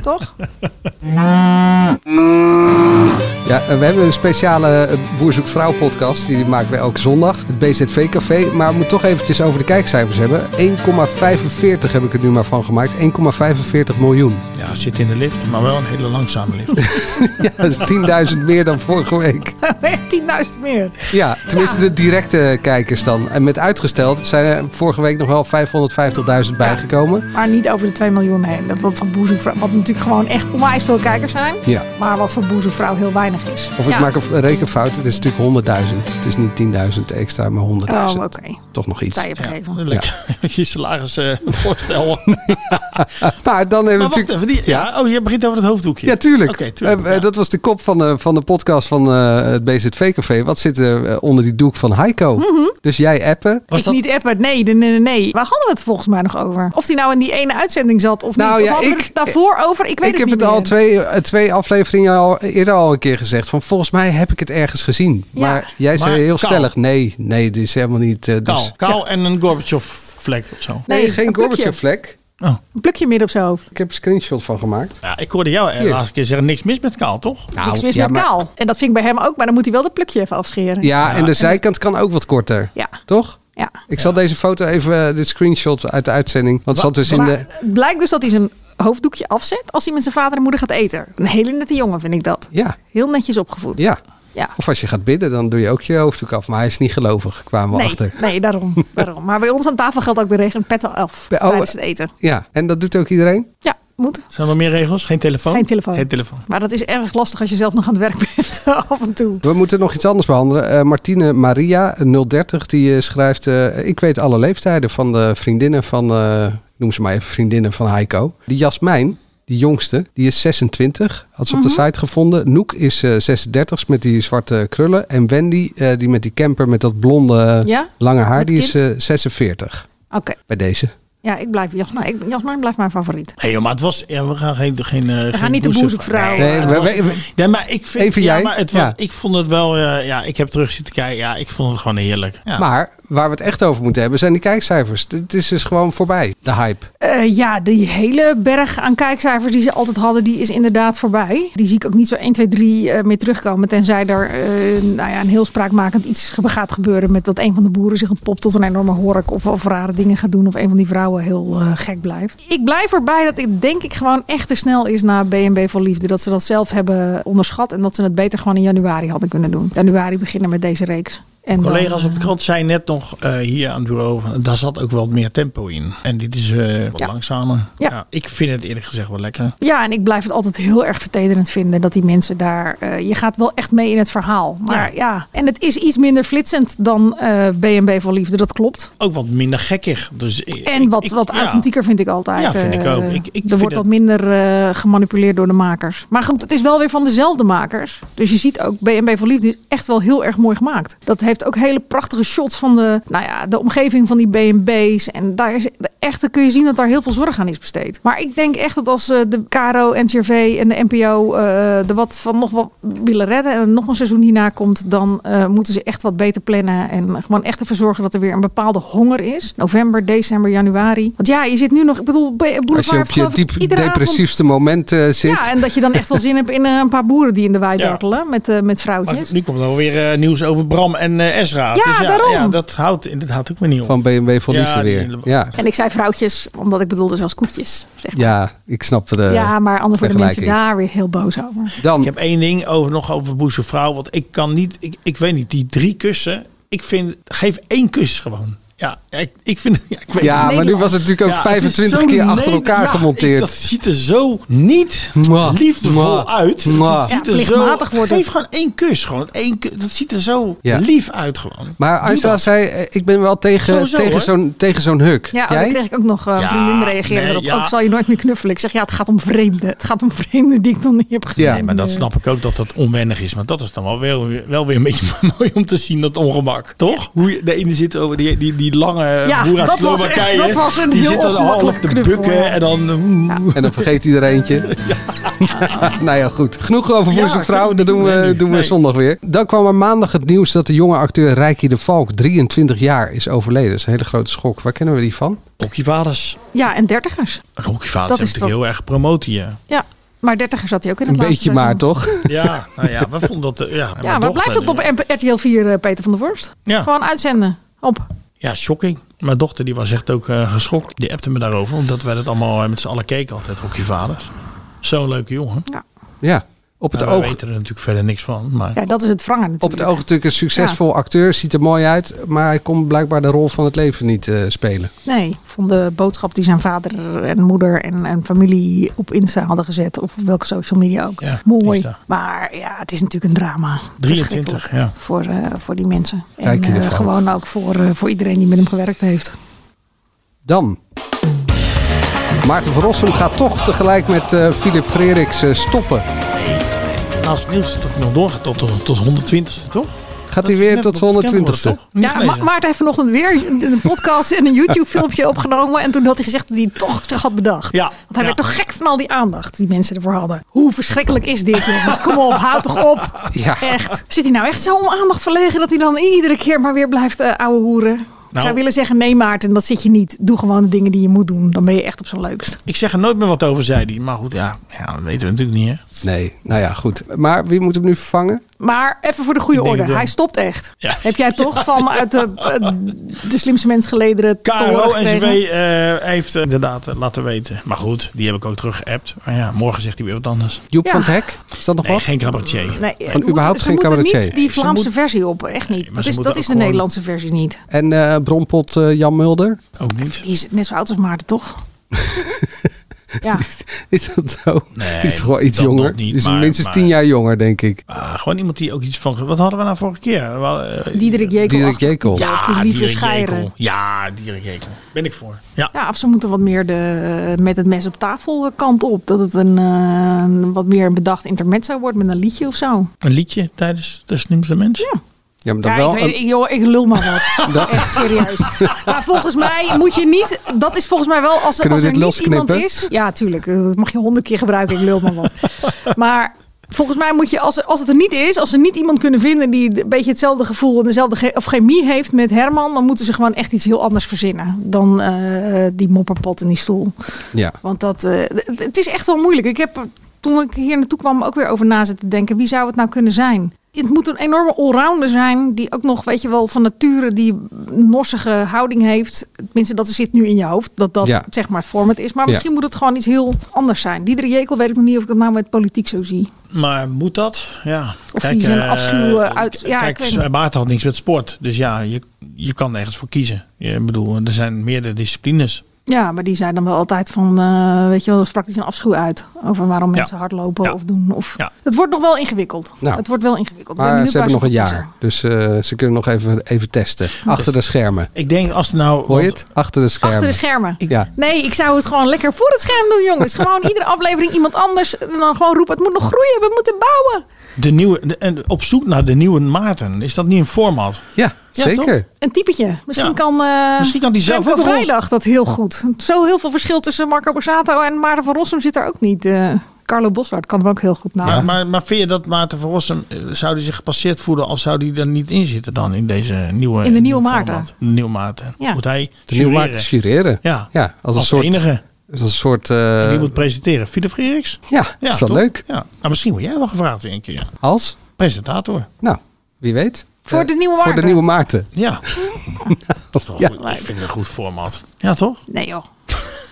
C: Toch? [laughs]
B: Ja, eh, we hebben een speciale eh, Boer zoekt vrouw podcast. Die maken we elke zondag. Het BZV Café. Maar we moeten toch eventjes over de kijkcijfers hebben. 1,45 heb ik er nu maar van gemaakt. 1,45 miljoen. [laughs]
A: Ja, zit in de lift, maar wel een hele langzame lift.
B: Ja, dat is 10.000 meer dan vorige week.
C: 10.000 meer.
B: Ja, tenminste de directe kijkers dan. En met uitgesteld zijn er vorige week nog wel 550.000 bijgekomen.
C: Maar niet over de 2 miljoen heen. Dat wat, voor boezemvrouw, wat natuurlijk gewoon echt onwijs veel kijkers zijn.
B: Ja.
C: Maar wat voor boezemvrouw heel weinig is.
B: Of ik
C: Ja.
B: maak een rekenfout, het is natuurlijk 100.000. Het is niet 10.000 extra, maar 100.000.
C: Oh, oké.
B: Toch nog iets.
C: Zij je
A: Ja,
C: vergeven.
A: lekker. [laughs] Je salaris
B: [laughs]
A: eh, voorstel.
B: Maar
A: Maar
B: dan hebben we
A: wacht
B: natuurlijk...
A: even. Die, ja? oh, je begint over het hoofddoekje.
B: Ja, tuurlijk.
A: Oké, tuurlijk,
B: Eh, eh,
A: ja.
B: Dat was de kop van de, van de podcast van eh, het BZV-café. Wat zit er eh, onder die doek van Heiko?
C: Mhm.
B: Dus jij appen.
A: Was
C: ik
A: dat-
C: niet appen. Nee, nee, nee, nee. Waar hadden we het volgens mij nog over? Of die nou in die ene uitzending zat of
B: Nou
C: niet.
B: ja,
C: of hadden we
B: ik-
C: het daarvoor over? Ik weet
B: ik
C: het
B: heb
C: niet
B: het al
C: meer.
B: twee, eh, twee afleveringen al eerder al een keer gezegd. Van volgens mij heb ik het ergens gezien.
C: Ja.
B: Maar jij zei
A: Maar
B: heel
A: kaal.
B: stellig: nee, nee, dit is helemaal niet. eh,
A: Kaal,
B: dus,
A: kaal en een Gorbachev-vlek of zo.
B: nee,
C: Nee,
B: geen
C: een plukje.
B: Gorbachev-vlek.
C: Een plukje midden op zijn hoofd.
B: Ik heb een screenshot van gemaakt.
A: Ja, ik hoorde jou eh,
B: Hier.
A: de laatste keer zeggen, niks mis met kaal, toch?
B: Nou,
C: Niks mis
B: ja,
C: met
B: maar-
C: kaal. En dat vind ik bij hem ook, maar dan moet hij wel dat plukje even afscheren.
B: Ja, en de zijkant kan ook wat korter.
C: Ja.
B: Toch?
C: Ja.
B: Ik zal deze foto even, eh, dit screenshot uit de uitzending. Want het zat dus in
C: Maar
B: de.
C: het blijkt dus dat hij zijn hoofddoekje afzet als hij met zijn vader en moeder gaat eten. Een hele nette jongen vind ik dat.
B: Ja,
C: Heel netjes opgevoed.
B: ja.
C: Ja.
B: Of als je gaat bidden, dan doe je ook je hoofddoek af. Maar hij is niet gelovig, kwamen we
C: Nee,
B: achter. [laughs]
C: nee daarom, daarom. Maar bij ons aan tafel geldt ook de regen pet al af
B: Bij- oh,
C: tijdens het eten.
B: Ja, en dat doet ook iedereen?
C: Ja, moet.
A: Zijn er nog meer regels? Geen telefoon?
C: Geen telefoon.
A: Geen telefoon.
C: Maar dat is erg lastig als je zelf nog aan het werk bent [laughs] af en toe.
B: We moeten nog iets anders behandelen. Eh, Martine Maria, 030, die eh, schrijft... eh, ik weet alle leeftijden van de vriendinnen van... eh, noem ze maar even vriendinnen van Heiko. Die Jasmijn, die jongste, die is 26. Had ze op
C: Mhm.
B: de site gevonden. Noek is eh 36 met die zwarte krullen. En Wendy, eh, die met die camper met dat blonde eh,
C: Ja?
B: lange haar...
C: Met
B: die is
C: kind?
B: eh, 46
C: Oké,
B: bij deze.
C: ja, ik blijf Jasmijn. Ik, Jasmijn blijft mijn favoriet.
A: Hé, joh, maar het was... Ja, we gaan geen... geen we
C: gaan niet de boezemvrouw.
A: Nee,
C: Nee,
A: maar
B: we-
A: het was-
B: we- we-
A: nee, maar ik vind...
B: Even
A: ja,
B: jij?
A: Maar het was,
B: Ja.
A: Ik vond het wel... eh, ja, ik heb terug zitten kijken. Ja, ik vond het gewoon heerlijk. Ja.
B: Maar waar we het echt over moeten hebben zijn die kijkcijfers. Het is dus gewoon voorbij, de hype.
C: Eh, ja, die hele berg aan kijkcijfers die ze altijd hadden, die is inderdaad voorbij. Die zie ik ook niet zo 1, 2, 3 eh, meer terugkomen. Tenzij er eh, nou ja, een heel spraakmakend iets ge- gaat gebeuren met dat een van de boeren zich ontpopt tot een enorme hork. Of, of rare dingen gaat doen. Of een van die vrouwen heel eh, gek blijft. Ik blijf erbij dat ik denk ik gewoon echt te snel is naar BNB voor Liefde. Dat ze dat zelf hebben onderschat. En dat ze het beter gewoon in januari hadden kunnen doen. Januari beginnen met deze reeks. En dan,
A: Collega's op de
C: eh,
A: krant zeiden net nog eh, hier aan het bureau, van, daar zat ook wat meer tempo in. En dit is eh, wat
C: Ja.
A: langzamer.
C: Ja.
A: Ik vind het eerlijk gezegd wel lekker.
C: Ja, en ik blijf het altijd heel erg vertederend vinden dat die mensen daar. eh, je gaat wel echt mee in het verhaal. Maar ja, en het is iets minder flitsend dan eh BNB voor Liefde, dat klopt.
A: Ook wat minder gekkig. Dus, ik-
C: En
A: ik-
C: wat,
A: ik-
C: wat
A: ja.
C: authentieker vind ik altijd.
A: Ja, vind ik
C: eh,
A: ook. Ik- ik
C: er
A: vind
C: wordt wat
A: het-
C: minder eh, gemanipuleerd door de makers. Maar goed, het is wel weer van dezelfde makers. Dus je ziet ook, BNB voor Liefde is echt wel heel erg mooi gemaakt. Dat heeft ook hele prachtige shots van de, nou ja, de omgeving van die BNB's. En daar is echt, dan kun je zien dat daar heel veel zorg aan is besteed. Maar ik denk echt dat als eh, de KRO, NCRV en de NPO eh, er wat van nog wat willen redden... en er nog een seizoen hierna komt, dan eh, moeten ze echt wat beter plannen. En gewoon echt ervoor zorgen dat er weer een bepaalde honger is. November, december, januari. Want ja, je zit nu nog, ik bedoel, Be-
B: Als je
C: Boulevard
B: op je
C: geloof ik
B: diep
C: iedere avond-
B: depressiefste moment eh, zit.
C: Ja, en dat je dan echt wel zin hebt in eh, een paar boeren die in de wei
A: Ja.
C: dartelen met, eh, met
A: Maar
C: vrouwtjes.
A: nu komt er weer eh, nieuws over Bram en eh, Ezra.
C: Ja, daarom.
A: Ja, dat houdt, dat houdt ook weer niet op.
B: Van BMW voor
A: Ja,
B: Liefde
A: die-
B: weer. Ja.
C: En ik zei vrouwtjes, omdat ik bedoelde zelfs koetjes. Zeg maar.
B: ja, ik snapte de
C: ja. maar anders worden mensen
B: Eh, vergelijking.
C: daar weer heel boos over.
B: Dan,
A: Ik heb één ding over, nog over boezemvrouw. Want ik kan niet, ik, ik weet niet, die drie kussen. Ik vind, geef één kus gewoon. Ja, ik, ik vind, [laughs] ja, ik weet
B: ja,
A: het
B: maar nu was het natuurlijk ook 25 keer achter elkaar gemonteerd.
A: dat ziet er zo niet
B: Mwah,
A: liefdevol
B: mwah,
A: uit.
B: mwah.
A: Het ziet
C: Ja,
A: er zo,
C: plichtmatig wordt het.
A: geef gewoon één kus. Gewoon één kus. Dat ziet er zo
B: Ja.
A: lief uit gewoon.
B: maar
A: Doe
B: Angela
A: dat.
B: zei, eh, ik ben wel tegen,
A: Sowieso,
B: tegen
A: hoor.
B: zo'n tegen zo'n huk.
C: Ja, oh,
B: Jij?
C: dan kreeg ik ook nog eh
A: Ja,
C: vriendinnen reageren
A: nee,
C: erop.
A: ja.
C: Ook zal je nooit meer knuffelen. Ik zeg, ja, het gaat om vreemden. Het gaat om vreemden die ik nog niet heb gezien.
B: Ja.
A: Nee, maar dat snap ik ook dat dat onwennig is. Maar dat is dan wel, wel, wel weer een beetje [laughs] mooi om te zien, dat ongemak. Toch? Hoe je, de ene zit over die, die, die lange
C: Ja,
A: boer uit
C: dat was echt-
A: Slowakije.
C: dat was een
A: die
C: heel
A: zit dan half
C: ongemakkelijk
A: te
C: knuffel,
A: bukken
C: ja.
A: en dan... hmm, oeh.
B: En dan vergeet
A: [laughs]
B: iedereen eentje. [laughs] nou ja, goed. Genoeg over
A: Ja,
B: Voice of Vrouw.
A: kunnen
B: Dat
A: we
B: doen
A: niet doen,
B: we,
A: hè, nu.
B: doen we
A: Nee.
B: zondag weer. Dan kwam er maandag het nieuws dat de jonge acteur Rijkie de Valk, 23 jaar, is overleden. Dat is een hele grote schok. Waar kennen we die van?
A: Hockeyvaders.
C: Ja, en dertigers.
A: Een hockeyvader
C: Dat
A: is
C: is
A: natuurlijk heel erg promoten hier.
C: Ja, maar dertigers zat hij ook in
B: Een
C: het
B: beetje
C: laatste
B: maar,
C: seizoen.
B: toch?
A: [laughs] Ja, nou ja, we vonden dat... eh, Ja, mijn
C: Ja, maar
A: dochter-
C: blijft dat op MP RTL 4, eh, Peter van der Worst?
A: Ja.
C: Gewoon uitzenden. Op.
A: Ja, shocking. Mijn dochter die was echt ook eh, geschokt. Die appte me daarover, omdat wij dat allemaal eh, met z'n allen keken altijd, hockeyvaders. Zo'n leuke jongen.
B: Ja, op het
A: Nou,
B: oog.
A: We weten er natuurlijk verder niks van. Maar
C: Ja, dat is het wrangen natuurlijk.
B: Op het oog natuurlijk een succesvol acteur, ziet er mooi uit, maar hij kon blijkbaar de rol van het leven niet eh, spelen.
C: Nee, ik vond de boodschap die zijn vader en moeder en, en familie op Insta hadden gezet, op welke social media ook,
A: Ja,
C: mooi.
A: Insta.
C: Maar ja, het is natuurlijk een drama.
A: 23,
C: Verschrikkelijk
A: ja.
C: Voor, eh, voor die mensen.
B: Kijk je
C: en eh,
B: ervan.
C: gewoon ook voor, eh, voor iedereen die met hem gewerkt heeft.
B: Dan. Maarten van Rossum gaat toch tegelijk met eh, Philip Frederiks eh, stoppen.
A: naast nieuws dat hij nog doorgaat tot, tot, tot 120ste, toch?
B: Gaat hij weer tot zijn 120ste?
C: Ja, Ma- Maarten heeft vanochtend weer een een podcast en een
A: [laughs]
C: YouTube-filmpje opgenomen. En toen had hij gezegd dat hij het toch zich had bedacht.
A: Ja,
C: Want hij
A: ja.
C: werd toch gek van al die aandacht die mensen ervoor hadden. Hoe verschrikkelijk is dit,
A: [laughs]
C: jongens? Kom op, houd toch op.
B: Ja.
C: Echt. Zit hij nou echt zo om aandacht verlegen dat hij dan iedere keer maar weer blijft eh ouwe hoeren?
A: Nou.
C: Ik zou willen zeggen, nee Maarten, dat zit je niet. Doe gewoon de dingen die je moet doen. Dan ben je echt op zijn leukst.
A: Ik zeg er nooit meer wat over, zei hij. Maar goed, ja, ja dat weten we natuurlijk niet, hè.
B: Nee, nou ja, goed. Maar wie moet hem nu vervangen?
C: Maar even voor de goede
A: Ik denk
C: orde.
A: het wel.
C: Hij stopt echt.
A: Ja.
C: Heb jij
A: [laughs]
C: toch vanuit de, eh, de slimste mens gelederen te horen
A: KRO NCW
C: gekregen?
A: eh heeft eh, inderdaad eh, laten weten. Maar goed, die heb ik ook teruggeappt. Maar ja, morgen zegt hij weer wat anders.
B: Joep
C: Ja.
B: van het Hek? Is dat nog
A: Nee,
B: wat?
A: geen cabaretier.
C: Nee, eh,
B: Van überhaupt
C: we moeten-
B: geen
C: ze moeten
B: cabaretier.
C: niet die
A: Ze
C: Vlaamse
A: moet-
C: versie op. Echt niet.
A: maar
C: dat
A: ze
C: is,
A: moeten
C: dat is de
A: ook gewoon-
C: Nederlandse versie niet.
B: En eh, Bronpot eh, Jan Mulder? [laughs]
A: Ook niet.
C: Die is net zo oud als Maarten, toch? ja.
B: Is dat zo?
A: Nee,
B: die is toch wel iets
A: dat
B: jonger?
A: nog niet,
B: die is
A: maar-
B: minstens
A: maar-
B: tien jaar jonger, denk ik.
A: Ah, gewoon iemand die ook iets van... Wat hadden we nou vorige keer? Wel, eh,
C: Diederik Jekel.
B: Diederik Jekel.
C: Ja, of
A: Ja,
C: die lieve
A: Dierik
C: scheiren.
A: Jekel. Ja, Dierik Jekel. Ben ik voor. Ja.
C: Ja, of ze moeten wat meer de, eh, met het mes op tafel eh, kant op. Dat het een eh, een wat meer bedacht intermezzo wordt met een liedje of zo.
A: Een liedje tijdens De Slimste Mens.
B: Ja, maar dan
C: Ja,
B: wel.
C: ik,
B: een-
C: weet, ik, joh, ik lul maar
B: [laughs]
C: wat.
B: Dat-
C: Echt serieus. Maar volgens mij moet je niet. Dat is volgens mij wel als, er-
B: Kunnen
C: als
B: we dit
C: er niet
B: losknippen?
C: iemand is. Ja, tuurlijk. eh, Dat mag je honderd keer gebruiken. Ik lul maar
B: [laughs]
C: wat. Maar. Volgens mij moet je, als, er- als het er niet is, als ze niet iemand kunnen vinden die een beetje hetzelfde gevoel en dezelfde ge- of chemie heeft met Herman, dan moeten ze gewoon echt iets heel anders verzinnen dan eh, die mopperpot in die stoel.
B: ja.
C: Want dat, eh, d- d- het is echt wel moeilijk. Ik heb er toen ik hier naartoe kwam ook weer over na zitten denken. Wie zou het nou kunnen zijn? Het moet een enorme allrounder zijn. Die ook nog, weet je wel, van nature die norsige houding heeft. Tenminste, dat zit nu in je hoofd. Dat dat
B: Ja.
C: zeg maar het format is. Maar
B: Ja.
C: misschien moet het gewoon iets heel anders zijn. Diederik Jekel weet ik nog niet of ik dat nou met politiek zo zie.
A: Maar moet dat? Ja.
C: Of die zijn
A: eh,
C: afschuw, eh, uit- ja, ik
A: kijk,
C: weet niet.
A: Maarten had niks met sport. Dus ja, je, je kan nergens voor kiezen. Ik bedoel, er zijn meerdere disciplines.
C: Ja, maar die zei dan wel altijd van, eh, weet je wel, er sprak hij zijn afschuw uit. Over waarom mensen hardlopen
A: Ja.
C: of doen. Of,
A: Ja.
C: Het wordt nog wel ingewikkeld.
B: Nou.
C: Het wordt wel ingewikkeld. Ik ben
B: Maar
C: benieuwd
B: ze hebben nog
C: waar
B: een
C: voor
B: jaar.
C: kiezen.
B: Dus eh, ze kunnen nog even, even testen. Achter de schermen.
A: Ik denk als er nou...
B: Hoor je
A: want-
B: het? Achter de schermen.
C: Achter de schermen.
B: Ja.
C: Nee, ik zou het gewoon lekker voor het scherm doen, jongens. Gewoon iedere
A: [laughs]
C: aflevering iemand anders. En dan gewoon roepen, het moet nog groeien, we moeten bouwen.
A: De nieuwe, de- en op zoek naar de nieuwe Maarten. Is dat niet een format?
B: Ja,
A: Ja,
B: zeker.
C: Een typetje. Misschien
A: Ja.
C: kan... eh
A: Misschien kan die zelf
C: Remco
A: ook nog wel eens-
C: Vrijdag dat heel goed. Zo heel veel verschil tussen Marco Borsato en Maarten van Rossum zit er ook niet. eh. Carlo Boswart kan hem ook heel goed na.
A: Maar, maar, maar vind je dat Maarten van Rossum... eh, Zou die zich gepasseerd voelen als zou die er niet in zitten dan? In deze nieuwe...
C: In de nieuwe
A: nieuw
C: Maarten.
A: format? De nieuwe Maarten.
C: Ja.
A: Moet hij
B: De nieuwe
A: jureren.
B: Maarten jureren.
A: Ja.
B: ja als, een
A: Als
B: soort,
A: enige.
B: Als een soort... eh,
A: En die moet presenteren. Philip Freeriks?
B: ja, is wel
A: toch?
B: leuk.
A: Ja. Nou, misschien word jij wel gevraagd weer een keer.
B: Als?
A: Presentator.
B: Nou, wie weet.
C: Voor
B: Eh,
C: de nieuwe
B: Voor
C: Maarten.
B: de nieuwe Maarten.
A: Ja. [laughs] Dat is toch
B: Ja.
A: goed. Ik vind het een goed format. Ja, toch?
C: Nee joh.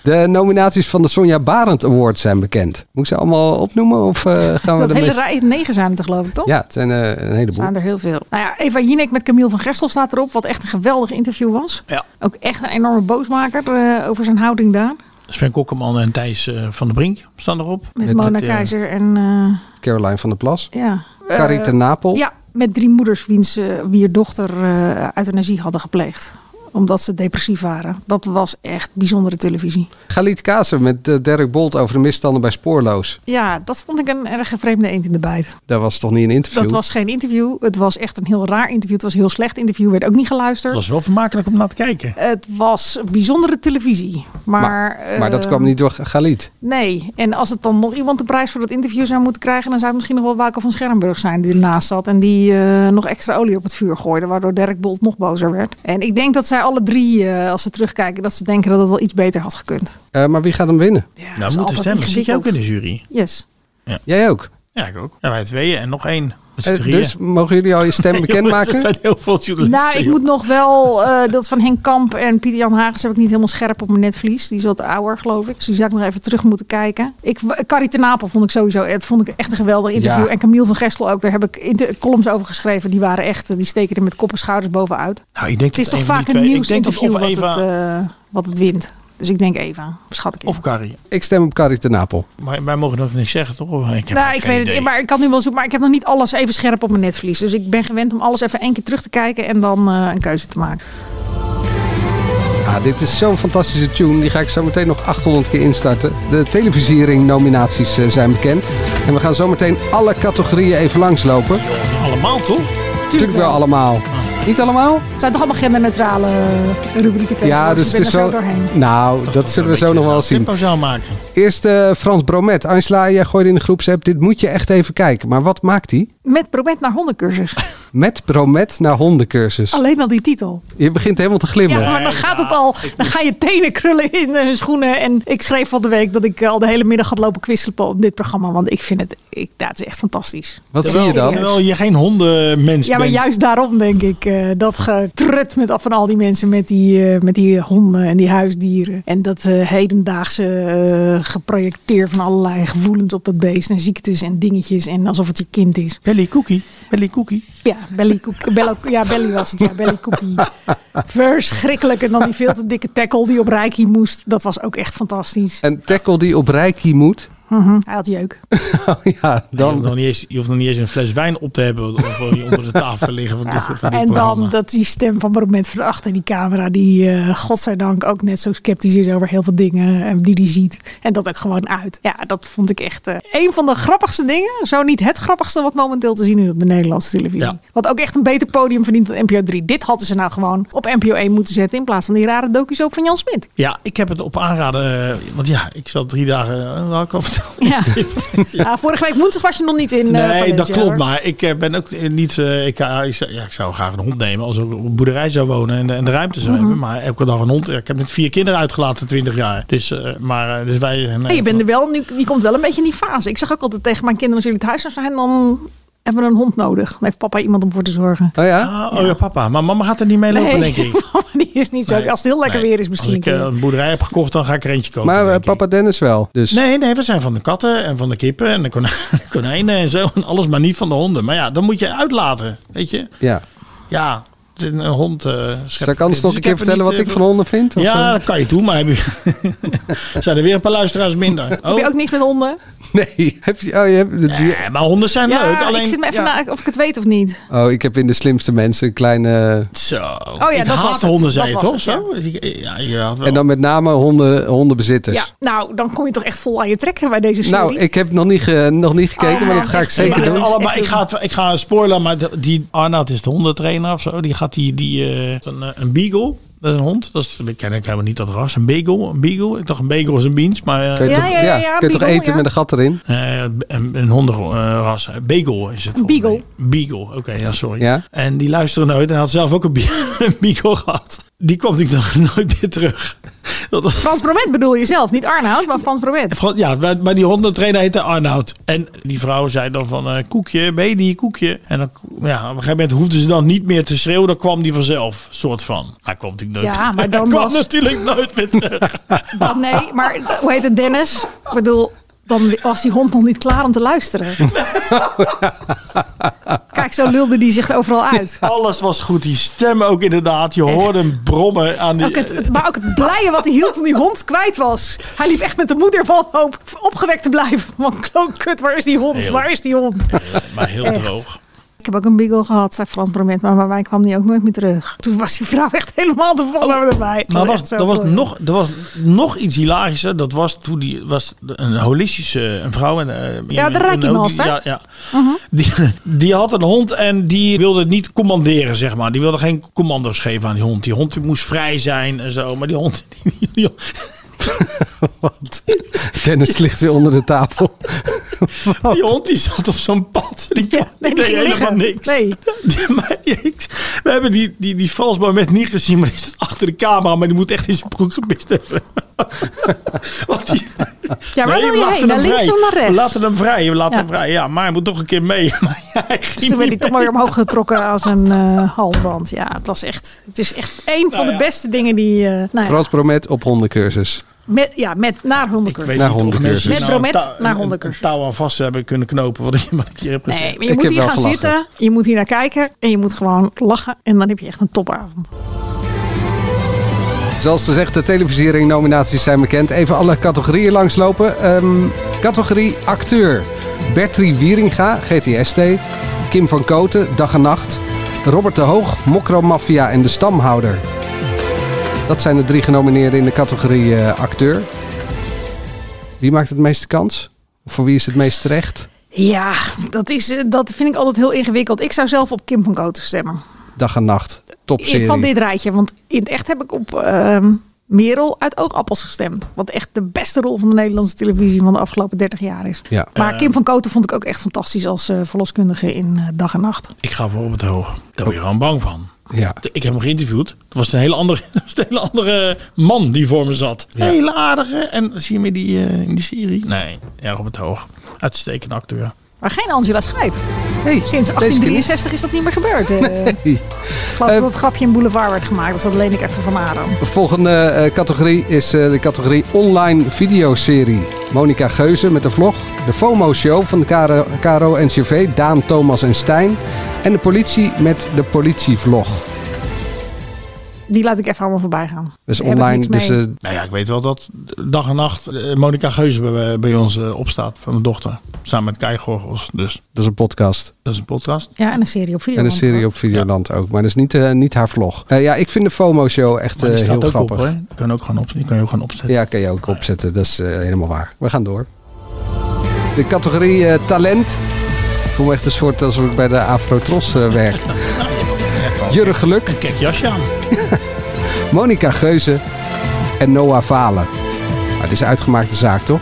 B: De nominaties van de Sonja Barend Award zijn bekend. Moet ik ze allemaal opnoemen? Of eh,
C: [laughs]
B: gaan we
C: Dat
B: de
C: hele
B: meest-
C: rij, Oh. negen zijn het er geloof ik, toch?
B: Ja, het zijn eh, een
C: Er
B: heleboel.
C: Staan er heel veel. Nou ja, Eva Jinek met Camille van Gestel staat erop. Wat echt een geweldig interview was.
A: Ja.
C: Ook echt een enorme boosmaker eh, over zijn houding daar.
A: Sven Kokkeman en Thijs eh, van der Brink staan erop.
C: Met,
B: Met
C: Mona
A: het, eh,
C: Keizer en eh,
B: Caroline van der Plas.
C: ja.
B: Carrie
C: Eh,
B: ten Napel.
C: Ja, met drie moeders wiens, eh, wier dochter eh euthanasie hadden gepleegd. Omdat ze depressief waren. Dat was echt bijzondere televisie.
B: Galit Kazen met eh, Dirk Bolt over de misstanden bij Spoorloos.
C: Ja, dat vond ik een erg vreemde eend in de bijt.
B: Daar was toch niet een interview?
C: Dat was geen interview. Het was echt een heel raar interview. Het was een heel slecht interview. Werd ook niet geluisterd.
A: Het was wel vermakelijk om naar te kijken.
C: Het was bijzondere televisie. Maar,
B: maar, maar dat
C: eh,
B: kwam niet door Galit.
C: Nee, en als het dan nog iemand de prijs voor dat interview zou moeten krijgen, dan zou het misschien nog wel Waco van Schermburg zijn die ernaast zat en die eh, nog extra olie op het vuur gooide, waardoor Dirk Bolt nog bozer werd. En ik denk dat zij alle drie, eh, als ze terugkijken, dat ze denken dat het wel iets beter had gekund.
B: Eh, maar wie gaat hem winnen?
C: Ja,
A: nou, we moeten stemmen. Zit jij ook in de jury?
C: Yes.
B: Jij ook?
A: Ja, ik ook. Ja, wij tweeën en nog één. Met z'n
B: Eh,
A: drieën. [laughs]
B: dus mogen jullie al je [laughs] stem
A: Er
B: bekendmaken?
A: zijn heel veel journalisten.
C: Nou, ik
A: joh.
C: moet nog wel eh, dat van Henk Kamp en Pieter Jan Hagens heb ik niet helemaal scherp op mijn netvlies. Die is wat ouder, geloof ik. Dus die zou ik nog even terug moeten kijken. Ik, eh, Carrie ten Napel vond ik sowieso het vond ik echt een geweldig interview.
B: Ja.
C: En Camille van Gestel ook. Daar heb ik inter- columns over geschreven. Die waren echt, eh, die steken er met kop en schouders bovenuit.
A: Nou, ik denk
C: Het is
A: dat
C: toch
A: een van
C: vaak
A: die
C: een
A: twee-
C: nieuws
A: ik denk dat
C: interview
A: of
C: wat,
A: Eva
C: het, eh, wat het wint. Dus ik denk Eva, schat ik in.
A: of Carrie.
B: Ik stem op Carrie ten Napel.
A: Maar wij mogen nog niks zeggen, toch? eh, Ik heb
C: nou,
A: geen
C: ik weet het
A: idee.
C: niet, maar ik kan nu wel zoeken. Maar ik heb nog niet alles even scherp op mijn netvlies. Dus ik ben gewend om alles even één keer terug te kijken en dan eh, een keuze te maken.
B: Ah, dit is zo'n fantastische tune. Die ga ik zo meteen nog 800 keer instarten. De televisiering nominaties eh, zijn bekend. En we gaan zo meteen alle categorieën even langslopen.
A: Allemaal, toch?
B: Natuurlijk wel allemaal.
C: Ah.
B: Niet allemaal?
C: Het zijn toch allemaal genderneutrale rubrieken tegen.
B: Ja, dus het
C: ik ben
B: is
C: er zo
B: wel...
C: doorheen.
B: Nou, dat zullen we zo nog wel zien.
A: Tempo zou maken.
B: Eerst eh, Frans Bromet. Angela, jij gooide in de groepsapp. Dit moet je echt even kijken. Maar wat maakt hij?
C: Met probeert naar
B: [laughs]
C: hondencursus.
B: Met Bromet naar hondencursus.
C: Alleen al die titel.
B: Je begint helemaal te
C: Ja,
B: glimmen.
C: maar dan gaat het al. Dan ga je tenen krullen in eh, schoenen. En ik schreef van de week dat ik eh, al de hele middag had lopen kwispelen op dit programma. Want ik vind het, ik, ja, het is echt fantastisch.
B: Wat zie
A: Terwijl,
B: je dan?
A: terwijl je geen hondenmens
C: Ja, maar
A: bent.
C: juist daarom denk ik eh, dat getrut met, van al die mensen met die, eh, met die honden en die huisdieren. En dat eh, hedendaagse eh, geprojecteer van allerlei gevoelens op dat beest en ziektes en dingetjes. En alsof het je kind is.
A: Belly Cookie. Belly Cookie.
C: Ja, Belly, Cook- Bello- ja, Belly was het. Ja, Belly Cookie. Verschrikkelijk. En dan die veel te dikke tackle die op Reiki moest. Dat was ook echt fantastisch.
B: Een tackle die op Reiki moet.
C: Mhm. Hij had jeuk.
B: ja,
A: Je hoeft,
B: dan...
A: nog niet eens, je hoeft nog niet eens een fles wijn op te hebben om voor die onder de tafel te liggen van dit, van dit
C: Ah, En
A: programma.
C: dan dat die stem van Bromet van achter die camera. Die eh godzijdank ook net zo sceptisch is over heel veel dingen eh, die hij ziet. En dat ook gewoon uit. Ja, dat vond ik echt eh, een van de grappigste dingen. Zo niet het grappigste wat momenteel te zien is op de Nederlandse televisie.
A: Ja.
C: Wat ook echt een beter podium verdient dan NPO 3. Dit hadden ze nou gewoon op NPO 1 moeten zetten. In plaats van die rare docu's ook van Jan Smit.
A: Ja, ik heb het op aanraden. eh, want ja, ik zat drie dagen... eh, wat had ik al verteld? [laughs]
C: Ja. Ja, vorige week woensdag was je nog niet in. eh,
A: Nee,
C: Valencia,
A: dat klopt.
C: hoor.
A: Maar ik eh, ben ook eh, niet. eh, ik, eh, ik zou- ja, ik zou graag een hond nemen als ik op een boerderij zou wonen en, de- en de ruimte
C: Mhm.
A: zou hebben. Maar elke dag een hond. Ja, Ik heb net vier kinderen uitgelaten, 20 jaar. Dus, eh, maar, eh, dus wij. eh,
C: Hey, je, bent er wel, nu, je komt wel een beetje in die fase. Ik zeg ook altijd tegen mijn kinderen: als jullie thuis zijn, dan hebben we een hond nodig. Dan heeft papa iemand om voor te zorgen.
B: Oh ja?
A: Ah, oh ja, papa. Maar mama gaat er niet mee lopen, denk ik.
C: mama, die is niet [laughs] zo.
A: Nee,
C: als het heel lekker
A: nee.
C: weer is, misschien.
A: Als ik eh, een boerderij heb gekocht, dan ga ik er eentje kopen.
B: Maar eh,
A: denk ik.
B: papa Dennis wel. Dus.
A: Nee, nee, we zijn van de katten en van de kippen en [laughs] de kon- konijnen en zo. En alles, maar niet van de honden. Maar ja, dan moet je uitlaten, weet je.
B: Ja.
A: Ja, het is een hond eh schept-
B: Zal ik anders
A: Dus
B: nog een
A: ik
B: keer
A: heb er
B: vertellen
A: niet,
B: wat ik
A: eh,
B: van honden vind? Of,
A: ja,
B: eh? [laughs]
A: dat kan je doen, maar heb je... [laughs] zijn er weer een paar luisteraars minder.
C: Heb je
A: Oh.
C: ook niks met honden?
B: Nee. Heb je, oh, je hebt de duur-
A: Ja, maar honden zijn leuk. Alleen,
C: ik zit me even
A: ja.
C: na of ik het weet of niet.
B: Oh, ik heb in de slimste mensen een kleine...
A: Zo.
C: ja,
A: ik
C: dat was
A: haat
C: het.
A: honden, zei
C: Dat
A: je toch?
C: was het,
A: Zo? Ja, je had wel.
B: En dan met name honden,
A: Dus.
B: hondenbezitters.
C: Ja, nou, dan kom je toch echt vol aan je trekken bij deze serie.
B: Nou, ik heb nog niet, ge- nog niet gekeken,
C: Oh,
B: maar dat
C: ja,
B: ga ik
C: echt
A: Nee,
B: zeker
A: maar
C: zeker
B: doen.
A: het
C: doen.
A: allemaal,
C: Echt
A: ik,
C: doen.
A: ga het, ik ga spoilen, maar de- die Arnoud is de hondentrainer of zo. Die gaat die, die eh, een, eh, een beagle, dat is een hond. Dat is, ik ken ik helemaal niet dat ras. Een beagle, een beagle. Ik dacht een beagle is een beans, maar
B: Kun
A: eh
B: je
C: Ja,
B: toch,
C: ja, ja, ja,
B: kun je toch
C: beagle,
B: eten
C: ja.
B: met een gat erin? [laughs]
A: eh, een, een hondenras. Eh, Beagle is het.
C: Een
A: volgens
C: beagle.
A: mij. Beagle, oké, ja, sorry.
B: Ja.
A: En die luisteren nooit en hij had zelf ook een, be- [laughs] een beagle gehad. Die kwam natuurlijk nog nooit meer terug. Dat was
C: Frans Bromet bedoel je zelf, niet Arnoud, maar Frans Bromet.
A: Fran- Ja, maar maar die hondentrainer heette Arnoud. En die vrouw zei dan van, eh, koekje, ben je die, koekje? En dan, ja, op een gegeven moment hoefden ze dan niet meer te schreeuwen. Dan kwam die vanzelf, soort van. Hij komt natuurlijk nooit
C: Ja,
A: [laughs]
C: maar dan
A: Hij kwam
C: was-
A: natuurlijk nooit meer terug.
C: Dat nee, maar eh, hoe heet het, Dennis? Ik bedoel, dan was die hond nog niet klaar om te luisteren. Kijk, zo lulde die zich overal uit.
A: Alles was goed. Die stem ook inderdaad. Je hoorde hem brommen aan die...
C: Ook het, het- maar ook het blije wat hij hield toen die hond kwijt was. Hij liep echt met de moeder van hoop opgewekt te blijven. Want kloot, kut, waar is die hond?
A: Heel.
C: Waar is die hond?
A: maar heel
C: echt.
A: droog.
C: Ik heb ook een beagle gehad, zei Frans Bromet. Maar bij mij kwam die ook nooit meer terug. Toen was die vrouw echt helemaal de vallen bij mij.
A: Oh, Maar was,
C: Echt zo
A: er, was
C: mooi.
A: nog, er was nog iets hilarischer. Dat was toen die was een holistische een vrouw. En, eh,
C: Ja, de Mhm.
A: en
C: Reiki
A: ook die-
C: master.
A: Ja, ja. die, [laughs] die had een hond en die wilde het niet commanderen, zeg maar. Die wilde geen commando's geven aan die hond. Die hond die moest vrij zijn en zo. Maar die hond... [laughs] die- die-
B: Want Dennis ligt weer onder de tafel.
A: Die hond die zat op zo'n pad. Die,
C: Ja,
A: kon
C: nee, die
A: deed
C: ging
A: helemaal
C: liggen.
A: niks.
C: Nee.
A: [laughs] Die- maar ik- we hebben die, die, die Frans moment niet gezien, maar die zit achter de camera. Maar die moet echt in zijn broek gepist hebben. [laughs] Want die,
C: Ja, waar
A: Nee,
C: wil je
A: laten
C: heen? Naar
A: hem
C: links
A: vrij.
C: of naar rechts?
A: We laten hem vrij, we laten
C: Ja.
A: hem vrij. Ja, maar hij moet toch een keer mee. [laughs] Maar hij ging
C: Dus toen werd
A: niet
C: hij toch maar weer omhoog getrokken aan zijn eh halsband. Ja, het was echt. Het is echt een van
A: Nou ja.
C: de beste dingen die. eh, nou ja,
B: Frans Bromet op hondencursus.
C: met, ja, met naar
A: Ik
C: hondencursus.
A: weet
B: Naar
A: niet of
B: hondencursus.
A: mensen
C: Met
A: nou
C: bromet
A: een touw-
C: naar
A: een-
C: hondencursus.
A: Een touw aan vast hebben kunnen knopen, wat ik, wat ik hier heb gezegd.
C: Nee, maar
B: Ik
C: je
B: heb
C: moet hier
B: wel
C: gaan
B: gelachen.
C: zitten. Je moet hier naar kijken. En je moet gewoon lachen. En dan heb je echt een topavond.
B: Zoals gezegd, de televisiering nominaties zijn bekend. Even alle categorieën langslopen. Ehm, categorie acteur. Bertrie Wieringa, GTST. Kim van Koten, Dag en Nacht. Robert de Hoog, Mokro Mafia en De Stamhouder. Dat zijn de drie genomineerden in de categorie eh, acteur. Wie maakt het meeste kans? Of voor wie is het meest terecht?
C: Ja, dat, is, eh, dat vind ik altijd heel ingewikkeld. Ik zou zelf op Kim van Koten stemmen.
B: Dag en Nacht, topserie.
C: Van dit rijtje. Want in het echt heb ik op ehm, Merel uit Oogappels gestemd. Wat echt de beste rol van de Nederlandse televisie van de afgelopen 30 jaar is.
B: Ja.
C: Maar Kim van Koten vond ik ook echt fantastisch als eh, verloskundige in eh, Dag en Nacht.
A: Ik ga voor op het hoog. Daar
C: Oh.
A: word je gewoon bang van.
B: ja.
A: Ik heb hem geïnterviewd. Dat was een hele andere, [laughs] dat was een hele andere man die voor me zat. Hele aardige. En zie je me die eh, in die serie? Nee, ja, Robert Hoog. Uitstekende acteur.
C: Maar geen Angela Schijf.
B: Hey,
C: Sinds
B: deze keer niet.
C: 1863 is dat niet meer gebeurd. eh. Ik geloof
B: Eh,
C: dat dat grapje in Boulevard werd gemaakt. Dus dat leen ik even van Adam.
B: Volgende eh, categorie is eh, de categorie online videoserie. Monica Geuze met de vlog. De FOMO Show van de Karo, Karo NCV, Daan, Thomas en Stijn. En de politie met de politievlog.
C: Die laat ik even allemaal voorbij gaan.
B: Dus
C: Daar heb ik
B: online,
C: niks
B: dus
C: mee.
B: eh,
A: Nou ja, ik weet wel dat dag en nacht eh, Monica Geuze bij, bij ons eh, opstaat. Van mijn dochter. Samen met Kai Gorgels. Dus
B: dat is een podcast.
A: dat is een podcast.
C: Ja, en een serie op video.
B: En een serie op Videoland ook. Maar dat is niet, eh, niet haar vlog. Eh, ja, ik vind de FOMO Show echt
A: Maar die
B: eh,
A: staat
B: heel
A: ook
B: grappig.
A: op hoor. Die kan, ook gewoon op, die kan je ook gewoon opzetten.
B: [laughs] Ja, kan je ook opzetten. Dat is eh, helemaal waar. We gaan door. De categorie eh, talent. Ik voel me echt een soort alsof ik bij de Afrotros eh, werk. Jurre Geluk,
A: Kijk jasje aan.
B: Monica Geuze en Noah Valen. Maar het is een uitgemaakte zaak, toch?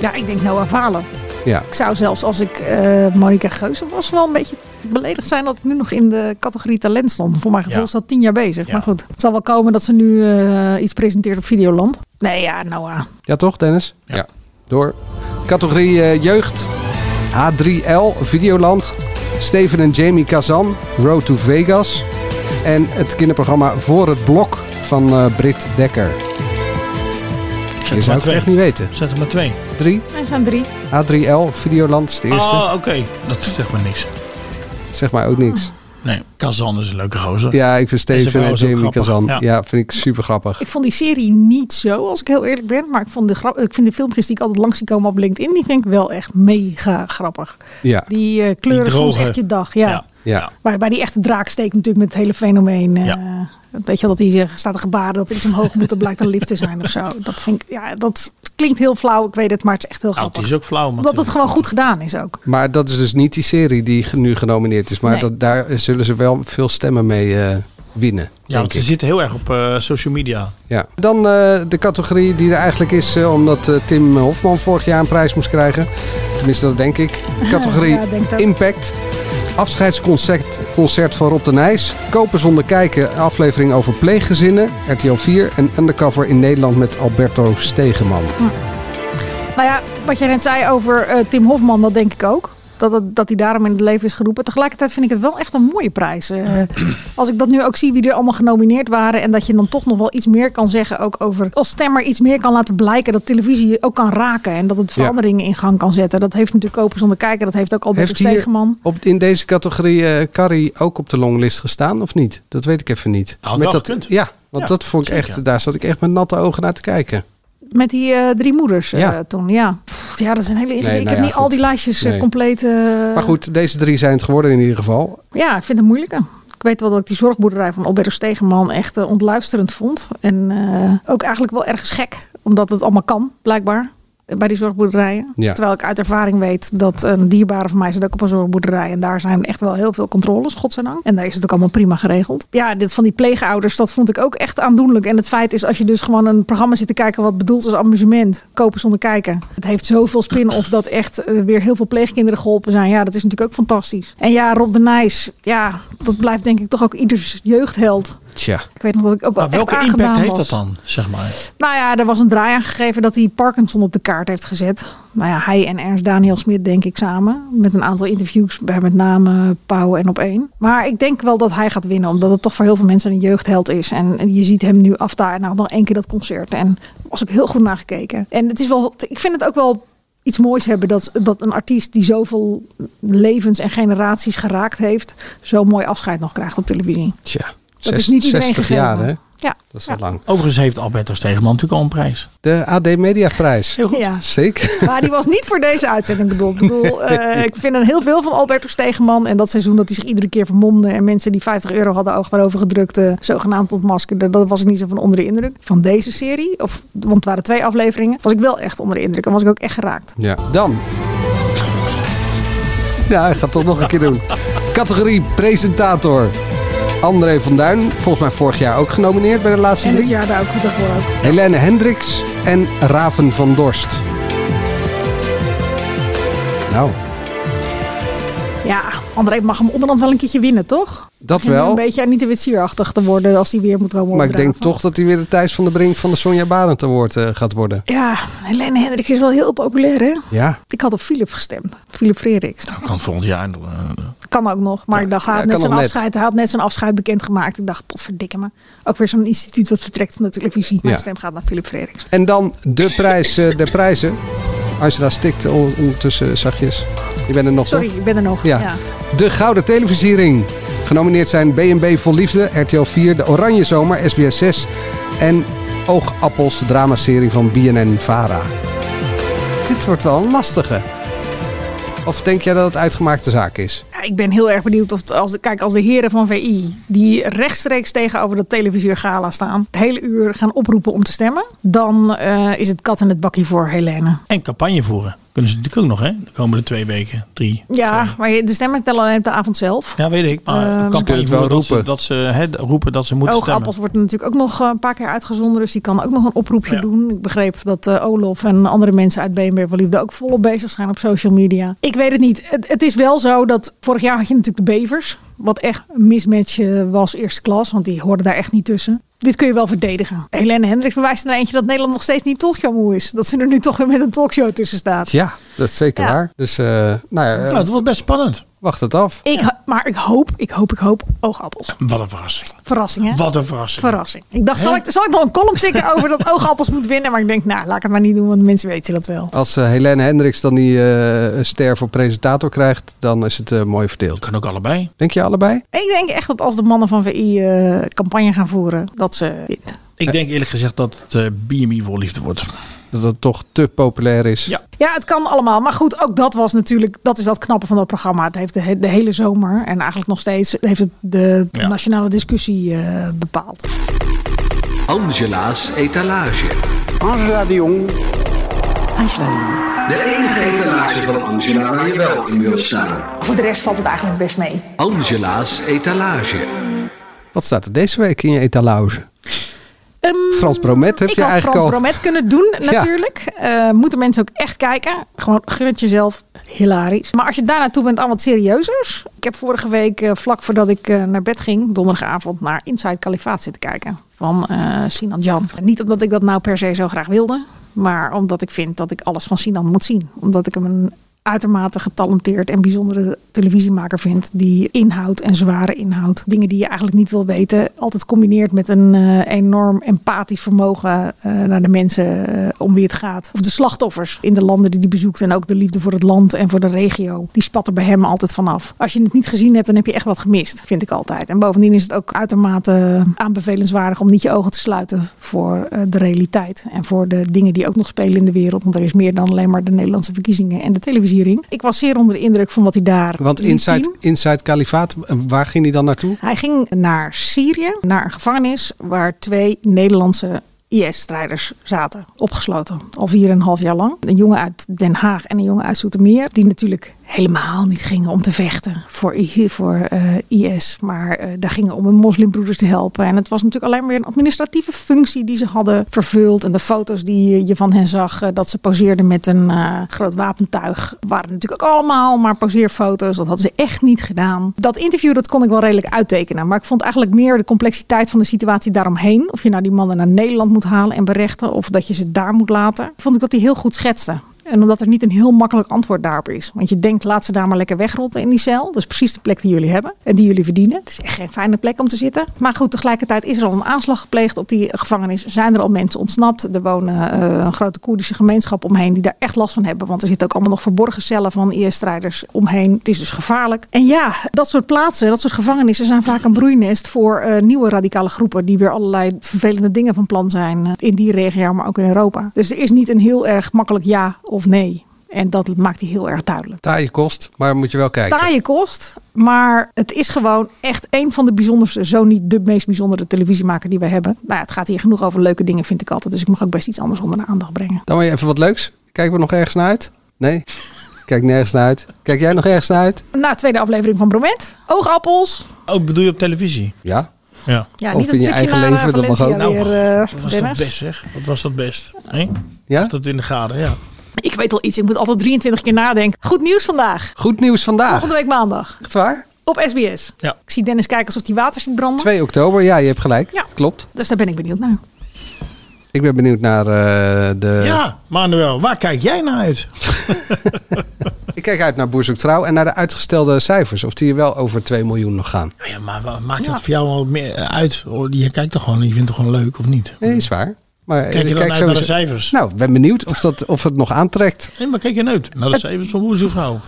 C: Ja, ik denk Noah Valen.
B: Ja.
C: Ik zou zelfs als ik eh Monica Geuze was wel een beetje beledigd zijn dat ik nu nog in de categorie talent stond. Voor mijn gevoel
A: Ja.
C: is dat tien jaar bezig.
A: Ja.
C: Maar goed, het zal wel komen dat ze nu eh, iets presenteert op Videoland. Nee, ja, Noah.
B: Ja, toch, Dennis?
A: Ja.
B: Door. Categorie eh, jeugd. H3L, Videoland. Steven en Jamie Kazan, Road to Vegas. En het kinderprogramma Voor het Blok van eh, Britt Dekker.
A: Zet
B: Je
A: er
B: zou
A: maar
B: het
A: twee.
B: echt niet weten.
A: Zet er maar twee.
B: Drie.
C: Er zijn drie.
B: H3L, Videoland is de eerste.
A: Ah, oké. Dat zegt maar niks.
B: Zeg maar ook niks.
A: Nee, Kazan is een leuke gozer.
B: Ja, ik vind
A: Ah. Deze
B: Steven
A: vrouw
B: en
A: is ook
B: Jamie
A: grappig.
B: Kazan. Ja.
A: Ja.
B: vind ik super grappig.
C: Ik vond die serie niet zo, als ik heel eerlijk ben. Maar ik, vond de grap, ik vind de filmpjes die ik altijd langs zie komen op LinkedIn, die vind ik wel echt mega grappig.
B: Ja,
C: Die eh, kleuren soms
A: droge.
C: echt je dag. Ja.
A: Ja.
B: ja.
C: Maar, maar die echte draak steekt natuurlijk met het hele fenomeen. eh,
A: Ja.
C: Weet je wel, dat hij eh, staat te gebaren dat er iets omhoog moet. Dat blijkt een lift te zijn of zo. Dat, vind ik, ja, dat klinkt heel flauw, ik weet het, maar het is echt heel
A: Nou, het
C: grappig.
A: is ook flauw. maar
C: Omdat het
A: natuurlijk.
C: gewoon goed gedaan is ook.
B: Maar dat is dus niet die serie die ge- nu genomineerd is. Maar
C: Nee.
B: dat, daar zullen ze wel veel stemmen mee eh, winnen.
A: Ja,
B: denk
A: want ze
B: ik.
A: zitten heel erg op eh, social media.
B: Ja. Dan eh, de categorie die er eigenlijk is eh, omdat eh, Tim Hofman vorig jaar een prijs moest krijgen. Tenminste, dat denk
C: [laughs]
B: ik. De categorie
C: Ja, denk het ook.
B: Impact. Afscheidsconcert concert van Rob de Nijs. Kopen zonder kijken. een Aflevering over pleeggezinnen. RTL 4. En Undercover in Nederland met Alberto
C: Hm.
B: Stegeman.
C: Nou ja, wat jij net zei over eh, Tim Hofman, dat denk ik ook. Dat, het- dat hij daarom in het leven is geroepen. Tegelijkertijd vind ik het wel echt een mooie
B: [clears throat]
C: prijs. Eh, als ik dat nu ook zie wie er allemaal genomineerd waren. En dat je dan toch nog wel iets meer kan zeggen. Ook over als stemmer iets meer kan laten blijken. Dat televisie je ook kan raken. En dat het veranderingen in gang kan zetten. Dat heeft natuurlijk Kopen zonder kijken. Dat heeft ook Albert
B: Heeft hier
C: Stegeman.
B: op, in deze categorie eh Carrie ook op de longlist gestaan of niet? Dat weet ik even niet.
A: Had wel
B: dat,
A: gekund.
B: ja, want
A: Ja,
B: dat vond ik
A: zeker.
B: echt, daar zat ik echt met natte ogen naar te kijken.
C: Met die eh, drie moeders eh,
B: Ja.
C: toen. Ja. Pff, ja, dat is een hele ingewikkelde.
B: nou
C: ik
B: ja,
C: heb niet al
B: goed.
C: die lijstjes eh,
B: Nee.
C: compleet. eh,
B: Maar goed, deze drie zijn het geworden in ieder geval.
C: Ja, ik vind het een moeilijke. Ik weet wel dat ik die zorgboerderij van Alberto Stegeman echt eh, ontluisterend vond. En eh, ook eigenlijk wel ergens gek, omdat het allemaal kan, blijkbaar. eh, Bij die zorgboerderijen.
B: Ja.
C: Terwijl ik uit ervaring weet dat een dierbare van mij zit ook op een zorgboerderij. En daar zijn echt wel heel veel controles, godzijdank. En daar is het ook allemaal prima geregeld. Ja, dit van die pleegouders, dat vond ik ook echt aandoenlijk. En het feit is, als je dus gewoon een programma zit te kijken wat bedoeld is amusement. Kopen zonder kijken. Het heeft zoveel spin-off dat echt eh, weer heel veel pleegkinderen geholpen zijn. Ja, dat is natuurlijk ook fantastisch. En ja, Rob de Nijs. Ja, dat blijft denk ik toch ook ieders jeugdheld.
B: Tja.
C: Ik weet nog dat ik ook wel
A: Maar
C: echt
A: welke
C: aangedaan
A: impact heeft
C: was.
A: dat dan, zeg maar?
C: Nou ja, er was een draai aangegeven dat hij Parkinson op de kaart heeft gezet. Nou ja, hij en Ernst Daniel Smit denk ik samen. Met een aantal interviews bij met name Pauw en op één. Maar ik denk wel dat hij gaat winnen. Omdat het toch voor heel veel mensen een jeugdheld is. En, en je ziet hem nu afdagen. Nou, nog één keer dat concert. En daar was ik heel goed naar gekeken. En het is wel, ik vind het ook wel iets moois hebben. Dat, dat een artiest die zoveel levens en generaties geraakt heeft. Zo'n mooi afscheid nog krijgt op televisie.
B: Tja.
C: Dat is niet iedereen
B: 60
C: gegeven.
B: jaar, hè?
C: Ja.
B: Dat is
C: ja.
B: al lang.
A: Overigens heeft Alberto Stegeman natuurlijk al een prijs.
B: De AD Mediaprijs.
A: Heel goed.
C: Ja.
B: Zeker. [laughs]
C: Maar die was niet voor deze uitzending bedoeld. Ik bedoel, eh, ik vind er heel veel van Albertus Stegeman. En dat seizoen dat hij zich iedere keer vermomde. En mensen die 50 euro hadden achterover gedrukt. eh, zogenaamd ontmaskerde. Dat was ik niet zo van onder de indruk. Van deze serie. Of, want het waren twee afleveringen. Was ik wel echt onder de indruk. En was ik ook echt geraakt.
B: Ja. Dan. [laughs] Ja, hij gaat het toch nog een keer doen. Categorie presentator. André van Duin, volgens mij vorig jaar ook genomineerd bij de laatste
C: En het
B: drie.
C: jaar daar ook daarvoor ook.
B: Helene Hendricks en Raven van Dorst. Nou,
C: Ja, André mag hem onderhand wel een keertje winnen, toch?
B: dat
C: Begint
B: wel.
C: Een beetje aan niet te witzierachtig te worden als hij weer moet komen
B: Maar ik denk
C: opdraven.
B: toch dat hij weer de Thijs van de Brink van de Sonja Barend Award eh, gaat worden.
C: Ja, Helene Hendricks is wel heel populair, hè?
B: Ja.
C: Ik had op Philip gestemd. Philip Frederiks.
A: Dat Nou, kan volgend jaar eh, doen.
C: Kan ook nog. Maar ik dacht, hij had,
B: ja,
C: net
B: kan
C: zijn
B: nog net.
C: afscheid, hij had net zijn afscheid bekendgemaakt. Ik dacht, potverdikke me. Ook weer zo'n instituut wat vertrekt van de televisie. Mijn
B: Ja.
C: stem gaat naar Philip Frederiks.
B: En dan de prijs eh, der prijzen. Angela stikt on- ondertussen zachtjes. Je bent er nog
C: Sorry,
B: toch?
C: ik ben er nog.
B: Ja.
C: Ja.
B: De Gouden Televisiering. Genomineerd zijn B&B Vol Liefde, RTL 4, De Oranje Zomer, SBS 6 en Oogappels, de dramaserie van BNN-Vara. Dit wordt wel een lastige. Of denk jij dat het uitgemaakte zaak is?
C: Ja, ik ben heel erg benieuwd of, het- als, de- kijk, als de heren van VI, die rechtstreeks tegenover dat televisiergala staan, het hele uur gaan oproepen om te stemmen, dan eh, is het kat in het bakkie voor Helene.
A: En campagne voeren. Kunnen ze natuurlijk ook nog, hè? De komende twee weken, drie.
C: Ja, maar je- de stemmen tellen alleen op de avond zelf.
A: Ja, weet ik. Maar
C: Ehm,
A: campagne
B: Ze kunnen het wel
A: voeren dat ze-
B: roepen.
A: Dat ze, hè, roepen dat ze moeten
C: Oogappels
A: stemmen.
C: wordt natuurlijk ook nog eh, een paar keer uitgezonden. Dus die kan ook nog een oproepje
A: Ja.
C: doen. Ik begreep dat eh, Olof en andere mensen uit BNB wel liefde ook volop bezig zijn op social media. Ik weet het niet. Het, het is wel zo dat vorig jaar had je natuurlijk de bevers. Wat echt een mismatch eh, was eerste klas. Want die hoorden daar echt niet tussen. Dit kun je wel verdedigen. Helene Hendricks bewijst er eentje dat Nederland nog steeds niet talkshowmoe is. Dat ze er nu toch weer met een talkshow tussen staat.
B: Ja, dat is zeker
C: Ja.
B: waar. Dus eh, nou ja, eh,
A: Nou, het wordt best spannend.
B: wacht het af.
C: Ik, ho- Maar ik hoop, ik hoop, ik hoop oogappels.
A: Wat een verrassing.
C: Verrassing hè?
A: Wat een verrassing.
C: Verrassing. Ik dacht, zal ik, zal ik dan een column tikken [laughs] over dat oogappels moet winnen? Maar ik denk, nou, laat ik het maar niet doen, want mensen weten dat wel.
B: Als eh, Helene Hendricks dan die eh, ster voor presentator krijgt, dan is het eh, mooi verdeeld.
A: kan ook allebei.
B: Denk je allebei?
C: Ik denk echt dat als de mannen van VI eh, campagne gaan voeren, dat ze wint.
A: Ik denk eerlijk gezegd dat het eh, BMI voor liefde wordt.
B: Dat het toch te populair is.
A: Ja.
C: Ja, het kan allemaal. Maar goed, ook dat was natuurlijk, dat is wel het knappe van dat programma. Het heeft de, he- de hele zomer en eigenlijk nog steeds heeft het de
A: Ja.
C: nationale discussie eh, bepaald.
J: Angela's etalage.
G: Angela de Jong.
J: De enige etalage van Angela waar je wel in wilt staan.
C: Voor de rest valt het eigenlijk best mee.
J: Angela's etalage.
B: Wat staat er deze week in je etalage?
C: Ehm,
B: Frans Bromet heb
C: ik
B: je
C: had
B: eigenlijk
C: Frans
B: al.
C: Bromet kunnen doen,
B: Ja.
C: natuurlijk. Eh, moeten mensen ook echt kijken. Gewoon gun het jezelf. Hilarisch. Maar als je daar naartoe bent, aan wat serieuzers. Ik heb vorige week, eh, vlak voordat ik eh, naar bed ging, donderdagavond, naar Inside Kalifaat zitten kijken. Van eh, Sinan Jan. Niet omdat ik dat nou per se zo graag wilde. Maar omdat ik vind dat ik alles van Sinan moet zien. Omdat ik hem een uitermate getalenteerd en bijzondere televisiemaker vind. Die inhoud en zware inhoud, dingen die je eigenlijk niet wil weten, altijd combineert met een eh, enorm empathisch vermogen eh, naar de mensen eh, om wie het gaat. Of de slachtoffers in de landen die hij bezoekt en ook de liefde voor het land en voor de regio. Die spat er bij hem altijd vanaf. Als je het niet gezien hebt, dan heb je echt wat gemist, vind ik altijd. En bovendien is het ook uitermate aanbevelenswaardig om niet je ogen te sluiten voor eh, de realiteit en voor de dingen die ook nog spelen in de wereld. Want er is meer dan alleen maar de Nederlandse verkiezingen en de televisiering. Ik was zeer onder de indruk van wat hij daar
B: Want
C: liet zien.
B: Inside, Inside Kalifaat, eh, waar ging hij dan naartoe?
C: Hij ging naar Syrië, naar een gevangenis waar twee Nederlandse IS-strijders zaten, opgesloten. Al vier en een half jaar lang. Een jongen uit Den Haag en een jongen uit Zoetermeer, die natuurlijk helemaal niet gingen om te vechten voor, I- voor eh, IS. Maar eh, daar gingen om hun moslimbroeders te helpen. En het was natuurlijk alleen maar een administratieve functie die ze hadden vervuld. En de foto's die je van hen zag, eh, dat ze poseerden met een eh, groot wapentuig, waren natuurlijk ook allemaal maar poseerfoto's. Dat hadden ze echt niet gedaan. Dat interview dat kon ik wel redelijk uittekenen. Maar ik vond eigenlijk meer de complexiteit van de situatie daaromheen. Of je nou die mannen naar Nederland moet halen en berechten. Of dat je ze daar moet laten. Vond ik dat hij heel goed schetste. En omdat er niet een heel makkelijk antwoord daarop is. Want je denkt, laat ze daar maar lekker wegrotten in die cel. Dat is precies de plek die jullie hebben en die jullie verdienen. Het is echt geen fijne plek om te zitten. Maar goed, tegelijkertijd is er al een aanslag gepleegd op die gevangenis. Zijn er al mensen ontsnapt. Er wonen eh, een grote Koerdische gemeenschap omheen die daar echt last van hebben. Want er zitten ook allemaal nog verborgen cellen van IS-strijders omheen. Het is dus gevaarlijk. En ja, dat soort plaatsen, dat soort gevangenissen zijn vaak een broeinest voor eh, nieuwe radicale groepen. Die weer allerlei vervelende dingen van plan zijn. eh, in die regio, maar ook in Europa. Dus er is niet een heel erg makkelijk ja of nee. En dat maakt hij heel erg duidelijk.
B: Taaie kost, maar moet je wel kijken.
C: Taaie kost, maar het is gewoon echt een van de bijzonderste, zo niet de meest bijzondere televisiemaker die we hebben. Nou ja, het gaat hier genoeg over leuke dingen, vind ik altijd. Dus ik mag ook best iets anders onder de aandacht brengen.
B: Dan wil je even wat leuks. Kijken we nog ergens naar uit? Nee? Kijk nergens naar uit. Kijk jij nog ergens naar uit?
C: Na tweede aflevering van Broment, oogappels.
A: Ook Oh, bedoel je op televisie?
B: Ja.
A: Ja.
C: Ja,
B: Of
C: niet
B: in
C: een
B: je
C: tripje
B: eigen
C: naar,
B: leven,
C: eh,
B: dat mag
C: Valencia
B: ook.
C: weer, eh,
A: Wat was
C: Dennis.
A: Nou, dat best, zeg? Wat was dat best? Hè?
B: Ja?
A: Dat in de gaten, ja.
C: Ik weet al iets, ik moet altijd 23 keer nadenken. Goed nieuws vandaag,
B: Goed nieuws vandaag.
C: volgende week maandag,
B: Echt waar?
C: op SBS.
A: Ja.
C: Ik zie Dennis kijken alsof hij water ziet branden.
B: 2 oktober. Ja, je hebt gelijk.
C: Ja.
B: Klopt.
C: Dus daar ben ik benieuwd naar.
B: Ik ben benieuwd naar eh, de...
A: Ja, Manuel, waar kijk jij naar uit?
B: Ik kijk uit naar Boer Zoekt Trouw en naar de uitgestelde cijfers. Of die wel over 2 miljoen nog gaan.
A: Oh Ja, maar wa- maakt dat
C: Ja.
A: voor jou wel meer eh, uit? Hoor, Je kijkt toch gewoon, en je vindt het gewoon leuk of niet?
B: Nee, is waar. Maar eh,
A: Kijk je
B: ik
A: dan uit naar de cijfers?
B: Nou, ik ben benieuwd of, dat, of het nog aantrekt.
A: Nee, maar kijk je uit? Nou, dat is even zo'n woezelvrouw.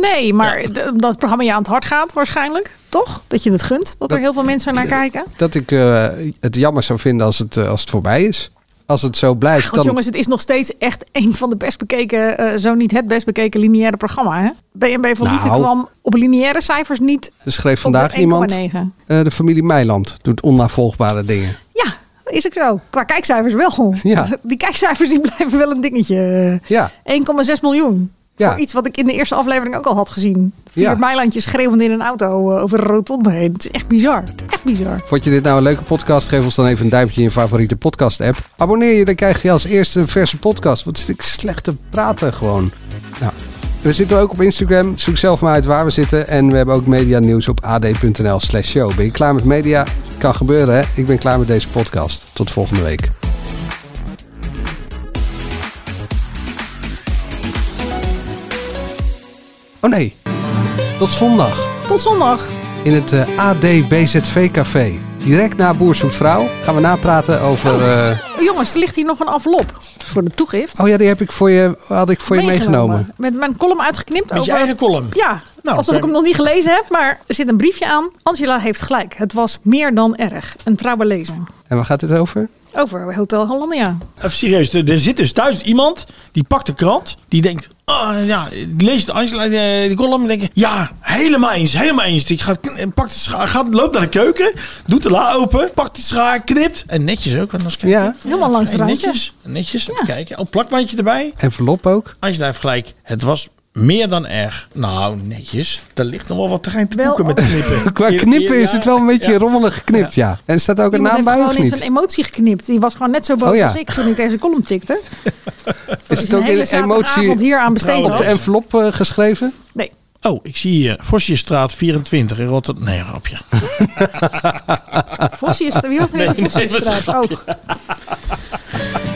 C: Nee, maar d- dat het programma je aan het hart gaat waarschijnlijk. Toch? Dat je het gunt. Dat,
B: Dat-
C: er heel veel mensen naar kijken.
B: Dat ik eh, het jammer zou vinden als het, eh, als het voorbij is. Als het zo blijft,
C: Goed
B: dan...
C: jongens, het is nog steeds echt een van de best bekeken, eh, zo niet het best bekeken lineaire programma. Hè? BNB van Liefde
B: Nou.
C: kwam op lineaire cijfers niet
B: Er schreef
C: op de
B: vandaag iemand,
C: 1,9.
B: eh, de familie Meiland doet onnavolgbare dingen.
C: Ja, dat is ook zo. Qua kijkcijfers wel.
B: Ja.
C: [laughs] Die kijkcijfers die blijven wel een dingetje.
B: Ja.
C: 1,6 miljoen.
B: Ja.
C: Voor iets wat ik in de eerste aflevering ook al had gezien. Vier
B: Ja.
C: Meilandjes schreeuwend in een auto eh, over een rotonde heen. Het is echt bizar. Het is echt bizar.
B: Vond je dit nou een leuke podcast? Geef ons dan even een duimpje in je favoriete podcast app. Abonneer je, dan krijg je als eerste een verse podcast. Wat is dit slecht te praten gewoon. Nou, we zitten ook op Instagram. Zoek zelf maar uit waar we zitten. En we hebben ook medianieuws op ad.nl slash show. Ben je klaar met media? Kan gebeuren hè? Ik ben klaar met deze podcast. Tot volgende week. Oh nee, tot zondag
C: Tot zondag.
B: in het eh, AD BZV Café. Direct na Boer zoekt vrouw gaan we napraten over...
C: Oh.
B: eh,
C: Jongens, er ligt hier nog een envelop voor de toegift.
B: oh ja, die heb ik voor je, had ik voor je meegenomen.
C: Met mijn column uitgeknipt.
A: Met je
C: over-
A: eigen column.
C: Oh, Ja,
A: Nou,
C: alsof ik hem
A: ben-
C: nog niet gelezen heb, maar er zit een briefje aan. Angela heeft gelijk. Het was meer dan erg. Een trouwe lezing.
B: En waar gaat dit over?
C: Over Hotel Hollandia.
A: Even serieus, er, er zit dus thuis iemand die pakt de krant, die denkt, ah ja, die leest Angela eh, die column en denkt, ja, helemaal eens, helemaal eens. Die gaat, kn- pakt de schaar, gaat, loopt naar de keuken, doet de la open, pakt die schaar, knipt en netjes ook. Want anders kijken.
B: Ja.
C: Helemaal langs de
A: En
C: rand, ja.
A: Netjes, netjes, even kijken. Al plakbandje erbij.
B: Envelop ook.
A: Angela heeft gelijk, het was meer dan erg. Nou, netjes, er ligt nog wel wat terrein te
C: Wel
A: boeken met
C: op-
A: knippen.
B: Qua
A: Eer-
B: knippen
A: eer-
B: is
A: ja,
B: het wel een beetje
A: ja.
B: rommelig geknipt, ja. En staat ook een
C: Iemand
B: naam
C: heeft
B: bij
C: gewoon
B: of
C: in
B: niet?
C: zijn emotie geknipt. Die was gewoon net zo boos
B: Oh ja.
C: als ik toen ik deze column tikte.
B: Is
C: Dus
B: het ook in emotie
C: zaterdagavond hier aan besteed.
B: op de
C: had.
B: envelop eh, geschreven?
C: Nee.
A: Oh, ik zie hier, Vosjesstraat 24 in Rotterdam. Nee, grapje.
C: Fossie is er. Wie was er in de Fossie
A: nee, dat is
C: straat? Ook.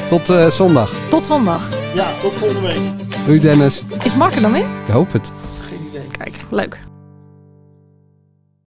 B: Tot eh, zondag.
C: Tot zondag.
A: Ja, tot volgende week.
B: Doei Dennis.
C: Is Mark er dan in?
B: Ik hoop het.
C: Kijk, leuk.